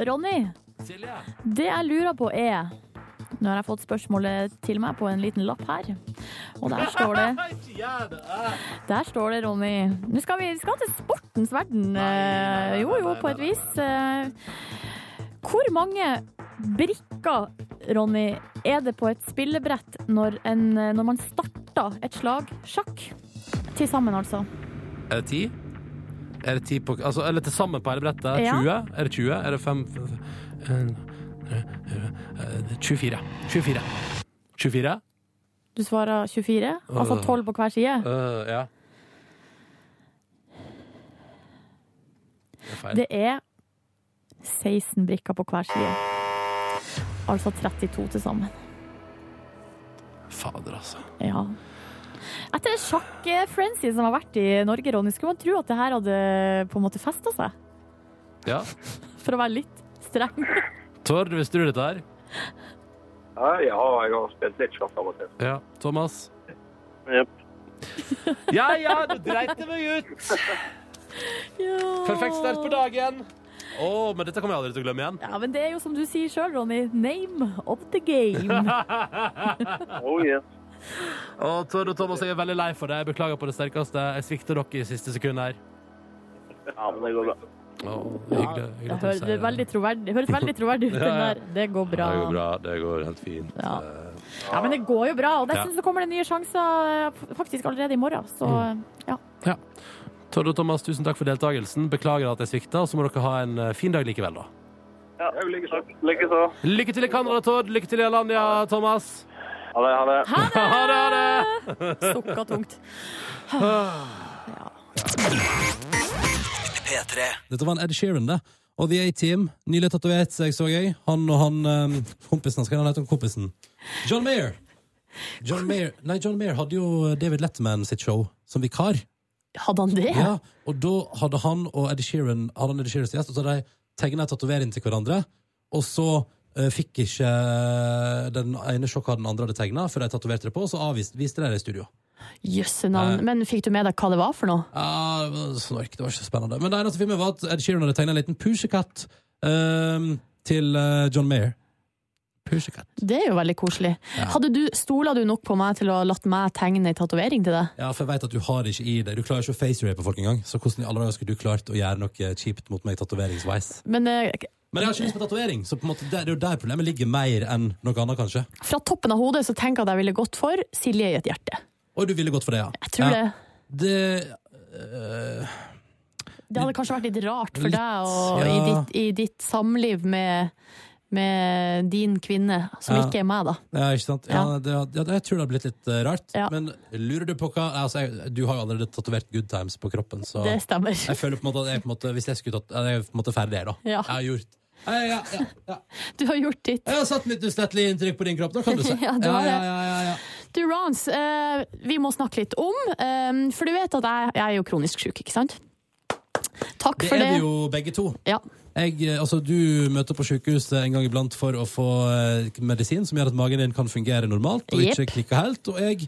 [SPEAKER 3] Ronny,
[SPEAKER 4] Silje?
[SPEAKER 3] det jeg lurer på er Nå har jeg fått spørsmålet til meg på en liten lapp her. Og der står det
[SPEAKER 4] Ikke gjør det!
[SPEAKER 3] Der står det, Ronny. Nå skal vi, vi skal til sportens verden.
[SPEAKER 4] nei, nei,
[SPEAKER 3] Eh, Jo, jo,
[SPEAKER 4] nei,
[SPEAKER 3] på
[SPEAKER 4] nei,
[SPEAKER 3] et vis. Eh, Hvor mange brikker, Ronny, er det på et spillebrett når, en, når man starter et slag sjakk? Til sammen, altså.
[SPEAKER 4] Er det ti? Er det ti på altså, Eller til sammen på hele brettet?
[SPEAKER 3] Ja.
[SPEAKER 4] 20? Er det 20? Er det 5 24. 24. 24?
[SPEAKER 3] Du svarer 24, altså 12 på hver side.
[SPEAKER 4] Øh, ja. Det er feil.
[SPEAKER 3] Det er 16 brikker på hver side. Altså 32 til sammen.
[SPEAKER 4] Fader, altså.
[SPEAKER 3] Ja. Etter den sjakk-frenzy som har vært i Norge, Ronny, skulle man tro at det her hadde på en måte festa seg?
[SPEAKER 4] Ja.
[SPEAKER 3] For å være litt streng.
[SPEAKER 4] Tord, visste du dette her?
[SPEAKER 7] Nei, ja, jeg har spilt litt sjakk av og til.
[SPEAKER 4] Ja. Thomas?
[SPEAKER 8] Jep.
[SPEAKER 4] Ja ja, du dreit det meg ut! Perfekt start på dagen. Å, men dette kommer jeg aldri til å glemme igjen.
[SPEAKER 3] Ja, men det er jo som du sier sjøl, Ronny. Name of the game.
[SPEAKER 8] Oh, yes.
[SPEAKER 4] Å, Tord og Thomas, jeg er veldig lei for det. Jeg beklager på det sterkeste. Jeg svikter dere i siste sekund her.
[SPEAKER 8] Ja, men det går bra.
[SPEAKER 4] Å, hyggelig, hyggelig
[SPEAKER 3] Det,
[SPEAKER 4] at du
[SPEAKER 3] hører,
[SPEAKER 4] sier
[SPEAKER 3] det, er veldig troverdig, det høres veldig troverdig ut, den der. Det går bra.
[SPEAKER 4] Det går bra. Det går helt fint.
[SPEAKER 3] Ja. Ja, men det går jo bra. Og
[SPEAKER 4] Ja.
[SPEAKER 3] dessuten så kommer det nye sjanser eh, faktisk allerede i morgen. Så
[SPEAKER 4] Mm.
[SPEAKER 3] ja.
[SPEAKER 4] Tord og Thomas, tusen takk for deltakelsen. Beklager at jeg svikta, og så må dere ha en eh, fin dag likevel, da.
[SPEAKER 8] Ja,
[SPEAKER 7] Jeg vil ligge sånn.
[SPEAKER 8] takk. Likeså.
[SPEAKER 4] Lykke til i Canada, Tord. Lykke til i Alandia, Thomas.
[SPEAKER 8] Ha det, ha det.
[SPEAKER 3] Ha det!
[SPEAKER 4] Ha det, ha det!
[SPEAKER 3] Sukka tungt.
[SPEAKER 1] P3.
[SPEAKER 4] Dette var en Ed Sheeran, det. Og The A-Team. Nylig tatovert seg, så jeg. Han og han um, kompisen hans. Hva heter han heter kompisen? John Mayer. John Mayer. Nei, John Mayer hadde jo eh, David Letterman sitt show som vikar.
[SPEAKER 3] Hadde han det?
[SPEAKER 4] Ja, og da hadde han og Ed Sheeran Hadde han Ed Sheeran som gjest, og så hadde de tegna en tatovering til hverandre. Og så eh, fikk ikke eh, den ene sjokk hva den andre hadde tegna, for de tatoverte det på, og så avviste, viste de det i studio.
[SPEAKER 3] Jøsse navn. Men fikk du med deg hva det var for noe?
[SPEAKER 4] Ja, det var snork, det var ikke så spennende. Men det eneste filmen var at Ed Sheeran hadde tegna en liten pusekatt ehm, til eh, John Mayer. Pusekatt.
[SPEAKER 3] Det er jo veldig koselig. Hadde du, Stola du nok på meg til å ha latt meg tegne ei tatovering til deg?
[SPEAKER 4] Ja, for jeg vet at du har det ikke i deg. Du klarer ikke å facerape folk engang. Så hvordan i alle dager skulle du klart å gjøre noe kjipt mot meg tatoveringsveis?
[SPEAKER 3] Men eh,
[SPEAKER 4] Men jeg har ikke lyst på tatovering, så på en måte, det det er jo der problemet ligger mer enn noe annet, kanskje.
[SPEAKER 3] fra toppen av hodet så tenker jeg at jeg ville gått for Silje i et hjerte.
[SPEAKER 4] Og du ville gått for det, ja.
[SPEAKER 3] Jeg tror
[SPEAKER 4] ja.
[SPEAKER 3] det.
[SPEAKER 4] det.
[SPEAKER 3] Det hadde kanskje vært litt rart for
[SPEAKER 4] Litt,
[SPEAKER 3] deg og, i,
[SPEAKER 4] ja.
[SPEAKER 3] ditt, i ditt samliv med, med din kvinne, som
[SPEAKER 4] Ja.
[SPEAKER 3] ikke er meg, da.
[SPEAKER 4] Ja, ikke sant? Ja, det, ja, jeg tror det har blitt litt eh, rart.
[SPEAKER 3] Ja.
[SPEAKER 4] Men lurer du på hva altså, jeg, Du har jo allerede tatovert Good Times på kroppen, så
[SPEAKER 3] Det stemmer.
[SPEAKER 4] Jeg føler på en måte at jeg på en måte, hvis jeg skulle tatt Jeg er på en måte ferdig her, da.
[SPEAKER 3] Ja.
[SPEAKER 4] Jeg har gjort ja, ja, ja, ja.
[SPEAKER 3] Du har gjort ditt.
[SPEAKER 4] Jeg har satt mitt uslettelige inntrykk på din kropp, da kan du si.
[SPEAKER 3] Ja, du har det.
[SPEAKER 4] ja, ja, ja, ja.
[SPEAKER 3] Du, Rans, eh, vi må snakke litt om, eh, for du vet at jeg, jeg er jo kronisk syk, ikke sant? Takk
[SPEAKER 4] Det
[SPEAKER 3] for
[SPEAKER 4] er
[SPEAKER 3] det.
[SPEAKER 4] vi jo begge to.
[SPEAKER 3] Ja.
[SPEAKER 4] Jeg, eh, altså, du møter på sykehuset en gang iblant for å få eh, medisin som gjør at magen din kan fungere normalt og
[SPEAKER 3] Jepp.
[SPEAKER 4] ikke klikke helt. Og jeg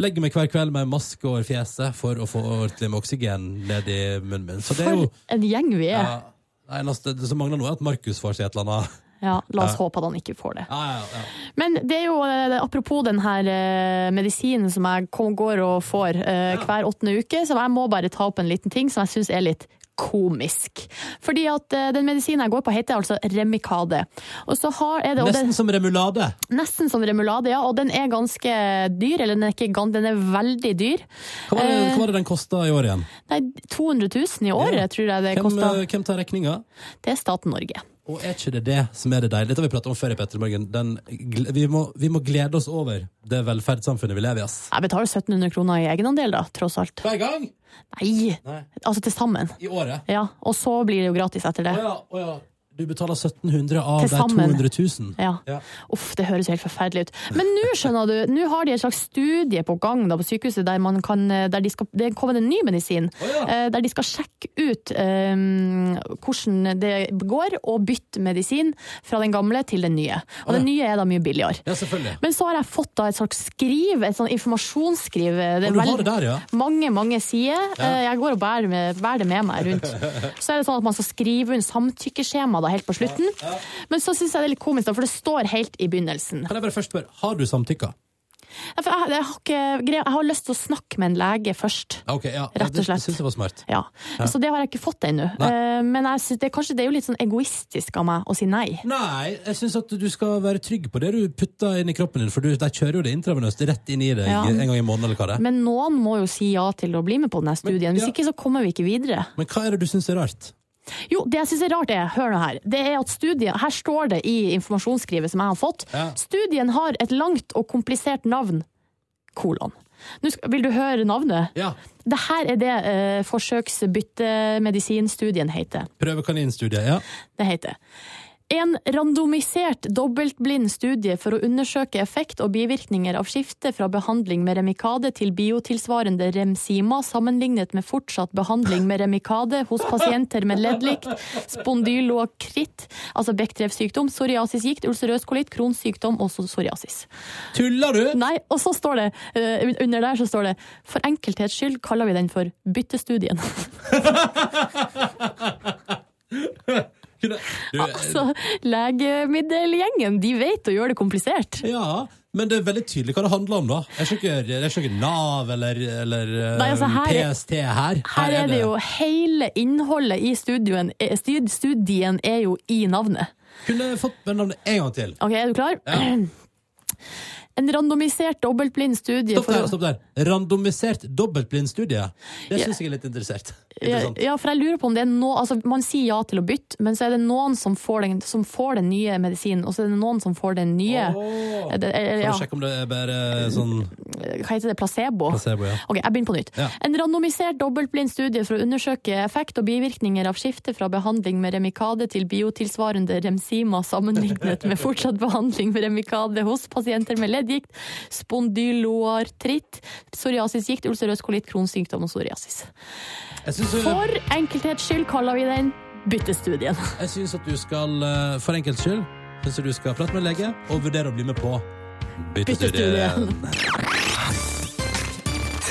[SPEAKER 4] legger meg hver kveld med en maske over fjeset for å få ordentlig med oksygen ned i munnen min. Så det er
[SPEAKER 3] For
[SPEAKER 4] jo
[SPEAKER 3] en gjeng vi
[SPEAKER 4] ja,
[SPEAKER 3] er.
[SPEAKER 4] det eneste det som mangler nå, er at Markus får seg et eller annet.
[SPEAKER 3] Ja, la oss håpe at han ikke får det.
[SPEAKER 4] Ja, ja, ja.
[SPEAKER 3] Men det er jo eh, apropos den her eh, medisinen som jeg kom- går og får eh, hver åttende uke, så jeg må bare ta opp en liten ting som jeg syns er litt komisk. Fordi at eh, den medisinen jeg går på, heter altså Remicade. Og så har, er det, og den,
[SPEAKER 4] Nesten som remulade.
[SPEAKER 3] nesten som Remulade, ja, og den er ganske dyr, eller den er, ikke, gan- den er veldig dyr.
[SPEAKER 4] Hva var det,
[SPEAKER 3] Eh,
[SPEAKER 4] hva var det den kosta i år igjen?
[SPEAKER 3] Nei, 200 000 i året,
[SPEAKER 4] Ja.
[SPEAKER 3] tror jeg det
[SPEAKER 4] Hvem,
[SPEAKER 3] kosta.
[SPEAKER 4] eh, hvem tar regninga?
[SPEAKER 3] Det er staten Norge.
[SPEAKER 4] Og er ikke det det som er det deilige? Dette har vi pratet om før i Petremorgen. Den, gl- vi, må, vi må glede oss over det velferdssamfunnet vi lever i, ass.
[SPEAKER 3] Jeg betaler 1700 kroner i egenandel, da, tross alt.
[SPEAKER 4] Hver gang!
[SPEAKER 3] Nei,
[SPEAKER 4] Nei.
[SPEAKER 3] altså til sammen.
[SPEAKER 4] I året.
[SPEAKER 3] Ja, og så blir det jo gratis etter det.
[SPEAKER 4] Å ja, å ja. Du betaler 1700 av
[SPEAKER 3] Til
[SPEAKER 4] de
[SPEAKER 3] sammen.
[SPEAKER 4] 200 000.
[SPEAKER 3] Ja.
[SPEAKER 4] Ja.
[SPEAKER 3] Uff, det høres jo helt forferdelig ut. Men nå skjønner du, nå har de et slags studie på gang da, på sykehuset der, man kan, eh, der de skal, det er kommet en ny medisin.
[SPEAKER 4] ja.
[SPEAKER 3] eh, Der de skal sjekke ut eh, hvordan det går å bytte medisin fra den gamle til den nye. Og den nye er da mye billigere.
[SPEAKER 4] Ja, selvfølgelig.
[SPEAKER 3] Men så har jeg fått da et slags skriv, et sånn informasjonsskriv. eh, Det er
[SPEAKER 4] Og du har
[SPEAKER 3] veldig-
[SPEAKER 4] det der, ja?
[SPEAKER 3] mange, mange sider. Eh, Jeg går og bærer, med, bærer det med meg rundt. Så er det sånn at man skal skrive inn samtykkeskjema da, helt på slutten. Men så syns jeg det er litt komisk, da, for det står helt i begynnelsen.
[SPEAKER 4] Kan jeg bare først spørre, har du samtykka?
[SPEAKER 3] Ja, for Jeg, jeg, har, ikke, greie- jeg har lyst til å snakke med en lege først.
[SPEAKER 4] Ja, ok, ja.
[SPEAKER 3] Rett og
[SPEAKER 4] Det-
[SPEAKER 3] slett.
[SPEAKER 4] Det syns jeg var smart.
[SPEAKER 3] Ja. Så det har jeg ikke fått ennå.
[SPEAKER 4] Nei.
[SPEAKER 3] Eh, Men jeg synes det, kanskje det er jo litt sånn egoistisk av meg å si nei.
[SPEAKER 4] Nei, jeg syns at du skal være trygg på det du putter inn i kroppen din, for du, de kjører jo det intravenøst rett inn i deg
[SPEAKER 3] Ja.
[SPEAKER 4] en gang i måneden, eller hva det er.
[SPEAKER 3] Men noen må jo si ja til å bli med på denne studien. Hvis
[SPEAKER 4] ja.
[SPEAKER 3] ikke så kommer vi ikke videre.
[SPEAKER 4] Men hva er det du syns er rart?
[SPEAKER 3] Jo, det jeg synes er rart er, hør nå her, det er at studien, her står det i informasjonsskrivet som jeg har fått,
[SPEAKER 4] Ja.
[SPEAKER 3] studien har et langt og komplisert navn, kolon. Nå skal, vil du høre navnet?
[SPEAKER 4] Ja,
[SPEAKER 3] Dette er det eh, forsøksbyttemedisinstudien heter.
[SPEAKER 4] Prøvekaninstudiet, ja.
[SPEAKER 3] Det heter en randomisert dobbeltblind studie for å undersøke effekt og bivirkninger av skifte fra behandling med Remikade til biotilsvarende Remsima sammenlignet med fortsatt behandling med Remikade hos pasienter med leddlikt, spondylokritt, altså bekkreftsykdom, psoriasisgikt, ulcerøs kolitt, kronsykdom og psoriasis.
[SPEAKER 9] Tuller du?
[SPEAKER 3] Nei, og så står det, eh, un- under der så står det, for enkelthets skyld kaller vi den for byttestudien.
[SPEAKER 9] Kunne- Du,
[SPEAKER 3] altså, legemiddelgjengen, de vet å gjøre det komplisert.
[SPEAKER 9] Ja, men det er veldig tydelig hva det handler om, da. Det er ikke, det er ikke Nav eller, eller eh,
[SPEAKER 3] Nei, altså, her er-
[SPEAKER 9] PST her.
[SPEAKER 3] Her er det jo hele innholdet i studien, eh, stud- studien er jo i navnet.
[SPEAKER 9] Kunne fått med navnet en gang til.
[SPEAKER 3] Ok, er du klar? En randomisert dobbeltblind studie
[SPEAKER 9] Stopp
[SPEAKER 3] for
[SPEAKER 9] der.
[SPEAKER 3] å-
[SPEAKER 9] stopp der. Randomisert dobbeltblindstudie. Det syns jeg er litt interessert.
[SPEAKER 3] Ja,
[SPEAKER 9] interessant.
[SPEAKER 3] ja, for jeg lurer på om det er noe altså Man sier ja til å bytte, men så er det noen som får den, som får den nye medisinen, og så er det noen som får den nye
[SPEAKER 9] Åh.
[SPEAKER 3] eh, det- eh,
[SPEAKER 9] Kan
[SPEAKER 3] ja,
[SPEAKER 9] du sjekke om det er bare sånn
[SPEAKER 3] Hva heter det? Placebo?
[SPEAKER 9] placebo, ja.
[SPEAKER 3] Ok, jeg begynner på nytt.
[SPEAKER 9] Ja.
[SPEAKER 3] En randomisert dobbeltblind studie for å undersøke effekt og bivirkninger av skifte fra behandling med Remikade til biotilsvarende Remsima sammenlignet med fortsatt behandling med Remikade hos pasienter med leddgikt, spondyloartritt, psoriasisgikt, ulcerøs kolitt, kronsykdom og psoriasis.
[SPEAKER 9] Jeg syns jo-
[SPEAKER 3] For enkelthets skyld kaller vi den byttestudien.
[SPEAKER 9] Jeg syns at du skal, eh, for enkelts skyld, synes jeg du skal prate med en lege og vurdere å bli med på
[SPEAKER 3] Byttestudien.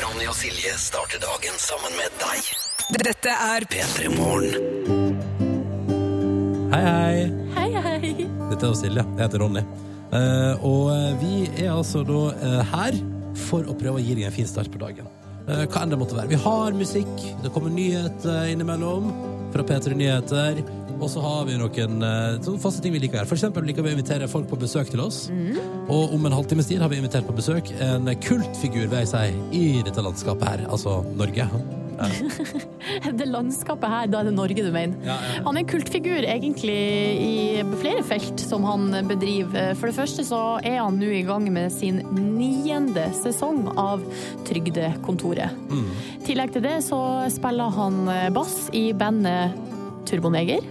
[SPEAKER 1] Ronny og Silje starter dagen sammen med deg.
[SPEAKER 10] Dette er
[SPEAKER 1] P3 Morgen.
[SPEAKER 9] Hei, hei.
[SPEAKER 3] Hei, hei.
[SPEAKER 9] Dette er jo Silje. Jeg heter Ronny. Eh, og eh, vi er altså da eh, her for å prøve å gi deg en fin start på dagen. Eh, hva enn det måtte være. Vi har musikk, det kommer nyheter innimellom fra P3 Nyheter. Og så har vi noen eh, sånne faste ting vi liker her. For eksempel liker vi å invitere folk på besøk til oss. Og om en halvtimes tid har vi invitert på besøk en kultfigur, vil jeg si, i dette landskapet her. Altså Norge.
[SPEAKER 3] Det landskapet her, da er det Norge du mener.
[SPEAKER 9] Ja, ja, ja.
[SPEAKER 3] Han er en kultfigur egentlig i flere felt som han bedriver. For det første så er han nå i gang med sin niende sesong av Trygdekontoret.
[SPEAKER 9] Mm.
[SPEAKER 3] I tillegg til det så spiller han eh, bass i bandet Turboneger.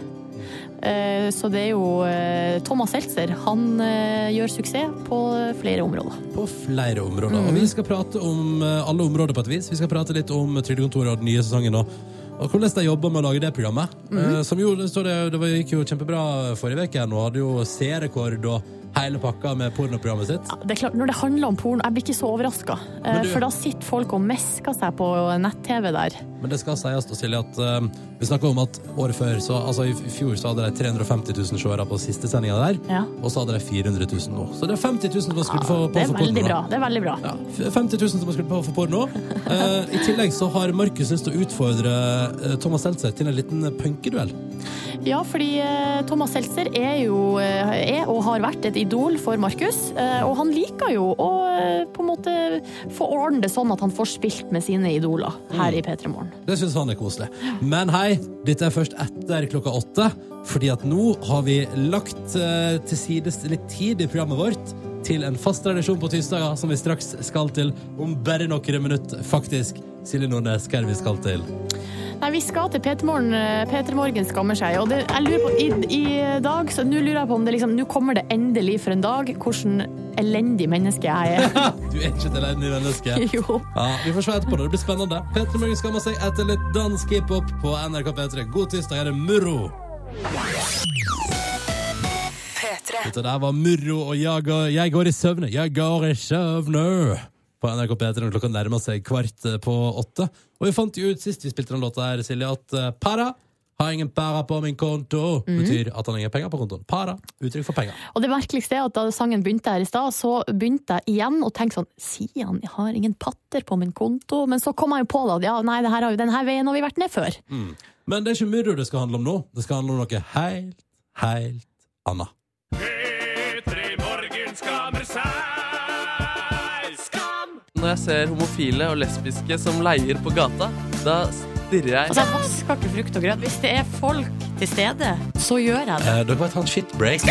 [SPEAKER 3] Eh, Så det er jo eh, Thomas Seltzer. Han eh, gjør suksess på flere områder.
[SPEAKER 9] på flere områder. Og
[SPEAKER 3] Mm.
[SPEAKER 9] vi skal prate om eh, alle områder på et vis. Vi skal prate litt om Trygdekontoret og den nye sesongen og, og hvordan de jobber med å lage det programmet.
[SPEAKER 3] Mhm.
[SPEAKER 9] Eh, som jo, det, står det, det var- gikk jo kjempebra forrige uke og hadde jo seerrekord og hele pakka med pornoprogrammet sitt.
[SPEAKER 3] Ja, det er klart, Når det handler om porno, jeg blir ikke så overraska.
[SPEAKER 9] Men du-
[SPEAKER 3] For da sitter folk og mesker seg på nett-TV der.
[SPEAKER 9] Men det skal sies da, Silje, at eh, vi snakka om at året før, så, altså i fjor, så hadde de 350 000 seere på siste sendinga der.
[SPEAKER 3] Ja.
[SPEAKER 9] Og så hadde de 400 000 nå. Så det er 50 000 som har skrudd for, på
[SPEAKER 3] Det er
[SPEAKER 9] for porno.
[SPEAKER 3] veldig
[SPEAKER 9] da.
[SPEAKER 3] bra. Det er veldig bra.
[SPEAKER 9] Ja, 50 000 som har skrudd på for porno. Eh, I tillegg så har Markus lyst til å utfordre eh, Thomas Seltzer til en liten punkeduell.
[SPEAKER 3] Ja, fordi eh, Thomas Seltzer er jo eh, er og har vært et idol for Markus. eh, Og han liker jo å eh, på en måte få ordne det sånn at han får spilt med sine idoler her i P3 Morgen.
[SPEAKER 9] Det syns han er koselig. Men hei, dette er først etter klokka åtte, fordi at nå har vi lagt eh, til side litt tid i programmet vårt til en fast tradisjon på tirsdager som vi straks skal til om bare noen minutter, faktisk. Silje Nordnes, hva er det vi skal til?
[SPEAKER 3] Nei, vi skal til P3 Morgen. eh, P3 Morgen skammer seg. Og det, jeg lurer på, i, i dag, så nå lurer jeg på om det liksom Nå kommer det endelig for en dag hvordan elendig menneske jeg er.
[SPEAKER 9] Du er ikke et elendig menneske.
[SPEAKER 3] jo.
[SPEAKER 9] Ja, Vi får se etterpå. da. Det blir spennende. Petter Morgen skammer seg etter litt dansk hiphop på NRK P3. God tirsdag, er det Murro.
[SPEAKER 10] P3.
[SPEAKER 9] Dette der var Murro og jeg går, jeg går i søvne. Jeg går i søvne. På NRK P3 når klokka nærmer seg kvart eh, på åtte. Og vi fant jo ut sist vi spilte den låta her, Silje, at eh, para har ingen para på min konto. Betyr at han har ingen penger på kontoen. Para. Uttrykk for penger.
[SPEAKER 3] Og det merkeligste er at da sangen begynte her i stad, så begynte jeg igjen å tenke sånn Sier han jeg har ingen patter på min konto? Men så kom jeg jo på da, at ja, nei, det her har jo, den her veien har vi vært ned før.
[SPEAKER 9] Men det er ikke Murro det skal handle om nå. Det skal handle om noe helt, helt annet.
[SPEAKER 2] Når jeg ser homofile og lesbiske som leier på gata, da stirrer jeg
[SPEAKER 11] Altså, jeg vasker ikke frukt og grønt. Hvis det er folk til stede, så gjør jeg det.
[SPEAKER 9] Eh, dere vet han shitbreak?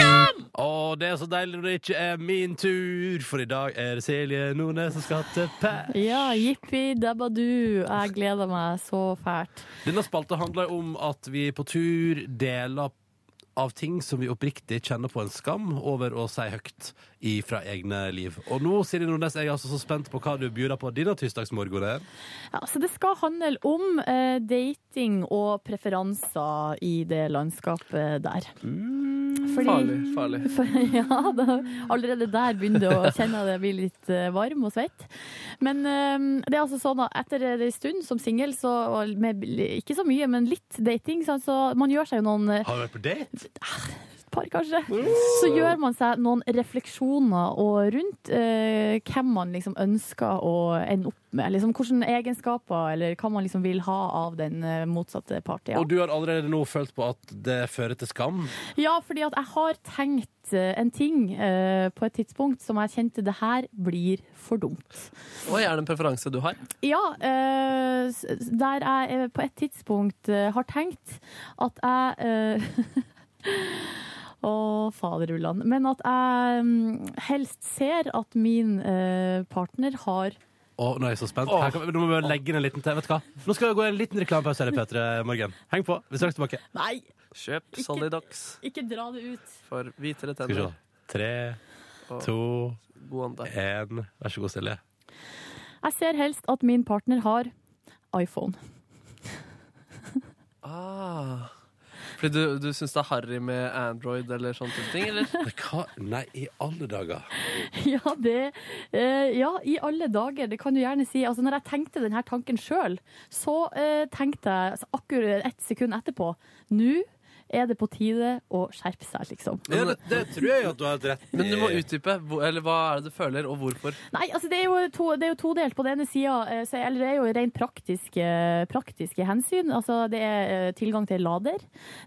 [SPEAKER 4] Å, det er så deilig når det ikke er min tur, for i dag er det Silje Nordnes som skal til pæ.
[SPEAKER 12] Ja, jippi dabadu. Jeg gleder meg så fælt.
[SPEAKER 4] Denne spalta handler om at vi på tur deler av ting som vi oppriktig kjenner på en skam over å si høyt i fra egne liv. Og nå, Silje Nordnes, er jeg altså så spent på hva du byr på dine tirsdagsmorgener.
[SPEAKER 3] Ja, så det skal handle om eh, dating og preferanser i det landskapet der. Fordi-
[SPEAKER 2] Farlig. farlig.
[SPEAKER 3] For, ja, da, allerede der begynner det å kjenne at jeg blir litt eh, varm og svett. Men eh, det er altså sånn at etter en stund som singel, så og med, ikke så mye, men litt dating, så, så man gjør seg jo noen eh, Ah,
[SPEAKER 4] Har du vært på date?
[SPEAKER 3] par, kanskje. Så gjør man seg noen refleksjoner og rundt eh, hvem man liksom ønsker å ende opp med. Liksom, hvilke egenskaper eller hva man liksom vil ha av den eh, motsatte parten. Ja.
[SPEAKER 4] Og du har allerede nå følt på at det fører til skam?
[SPEAKER 3] Ja, fordi at jeg har tenkt eh, en ting eh, på et tidspunkt som jeg kjente det her blir for dumt.
[SPEAKER 2] Oi, er det en preferanse du har?
[SPEAKER 3] Ja, eh, s- der jeg eh, på et tidspunkt eh, har tenkt at jeg eh, Å, faderullan. Men at jeg mm, helst ser at min eh, partner har
[SPEAKER 4] Å, nå er jeg så spent. Her kan, vi- nå må vi legge inn en liten til. Vet du hva? Nå skal vi gå i en liten reklamepause her i P3 Morgen. Heng på. Vi er straks tilbake.
[SPEAKER 3] Nei,
[SPEAKER 2] Kjøp Solidox
[SPEAKER 3] ikke dra det ut.
[SPEAKER 2] for hvitere
[SPEAKER 4] Skal vi se.
[SPEAKER 2] tenner.
[SPEAKER 4] Tre, to,
[SPEAKER 2] God ånde.
[SPEAKER 4] én. Vær så god, Silje.
[SPEAKER 3] Jeg ser helst at min partner har iPhone.
[SPEAKER 2] Ah. Fordi du, du syns det er harry med Android eller sånne type ting, eller?
[SPEAKER 4] Hva? Nei, i alle dager.
[SPEAKER 3] Ja, det, eh, ja, i alle dager. Det kan du gjerne si. Altså, når jeg tenkte denne tanken sjøl, så eh, tenkte jeg altså, akkurat ett sekund etterpå Nå er det på tide å skjerpe seg, liksom.
[SPEAKER 4] det, tror jeg at du har rett
[SPEAKER 2] Men du må utdype. Hvor- Eller hva er det du føler, og hvorfor?
[SPEAKER 3] Nei, altså det er jo, to, det er jo todelt. På den ene sida eh, så- Eller det er jo rent praktiske, praktiske hensyn. Altså det er eh, tilgang til lader.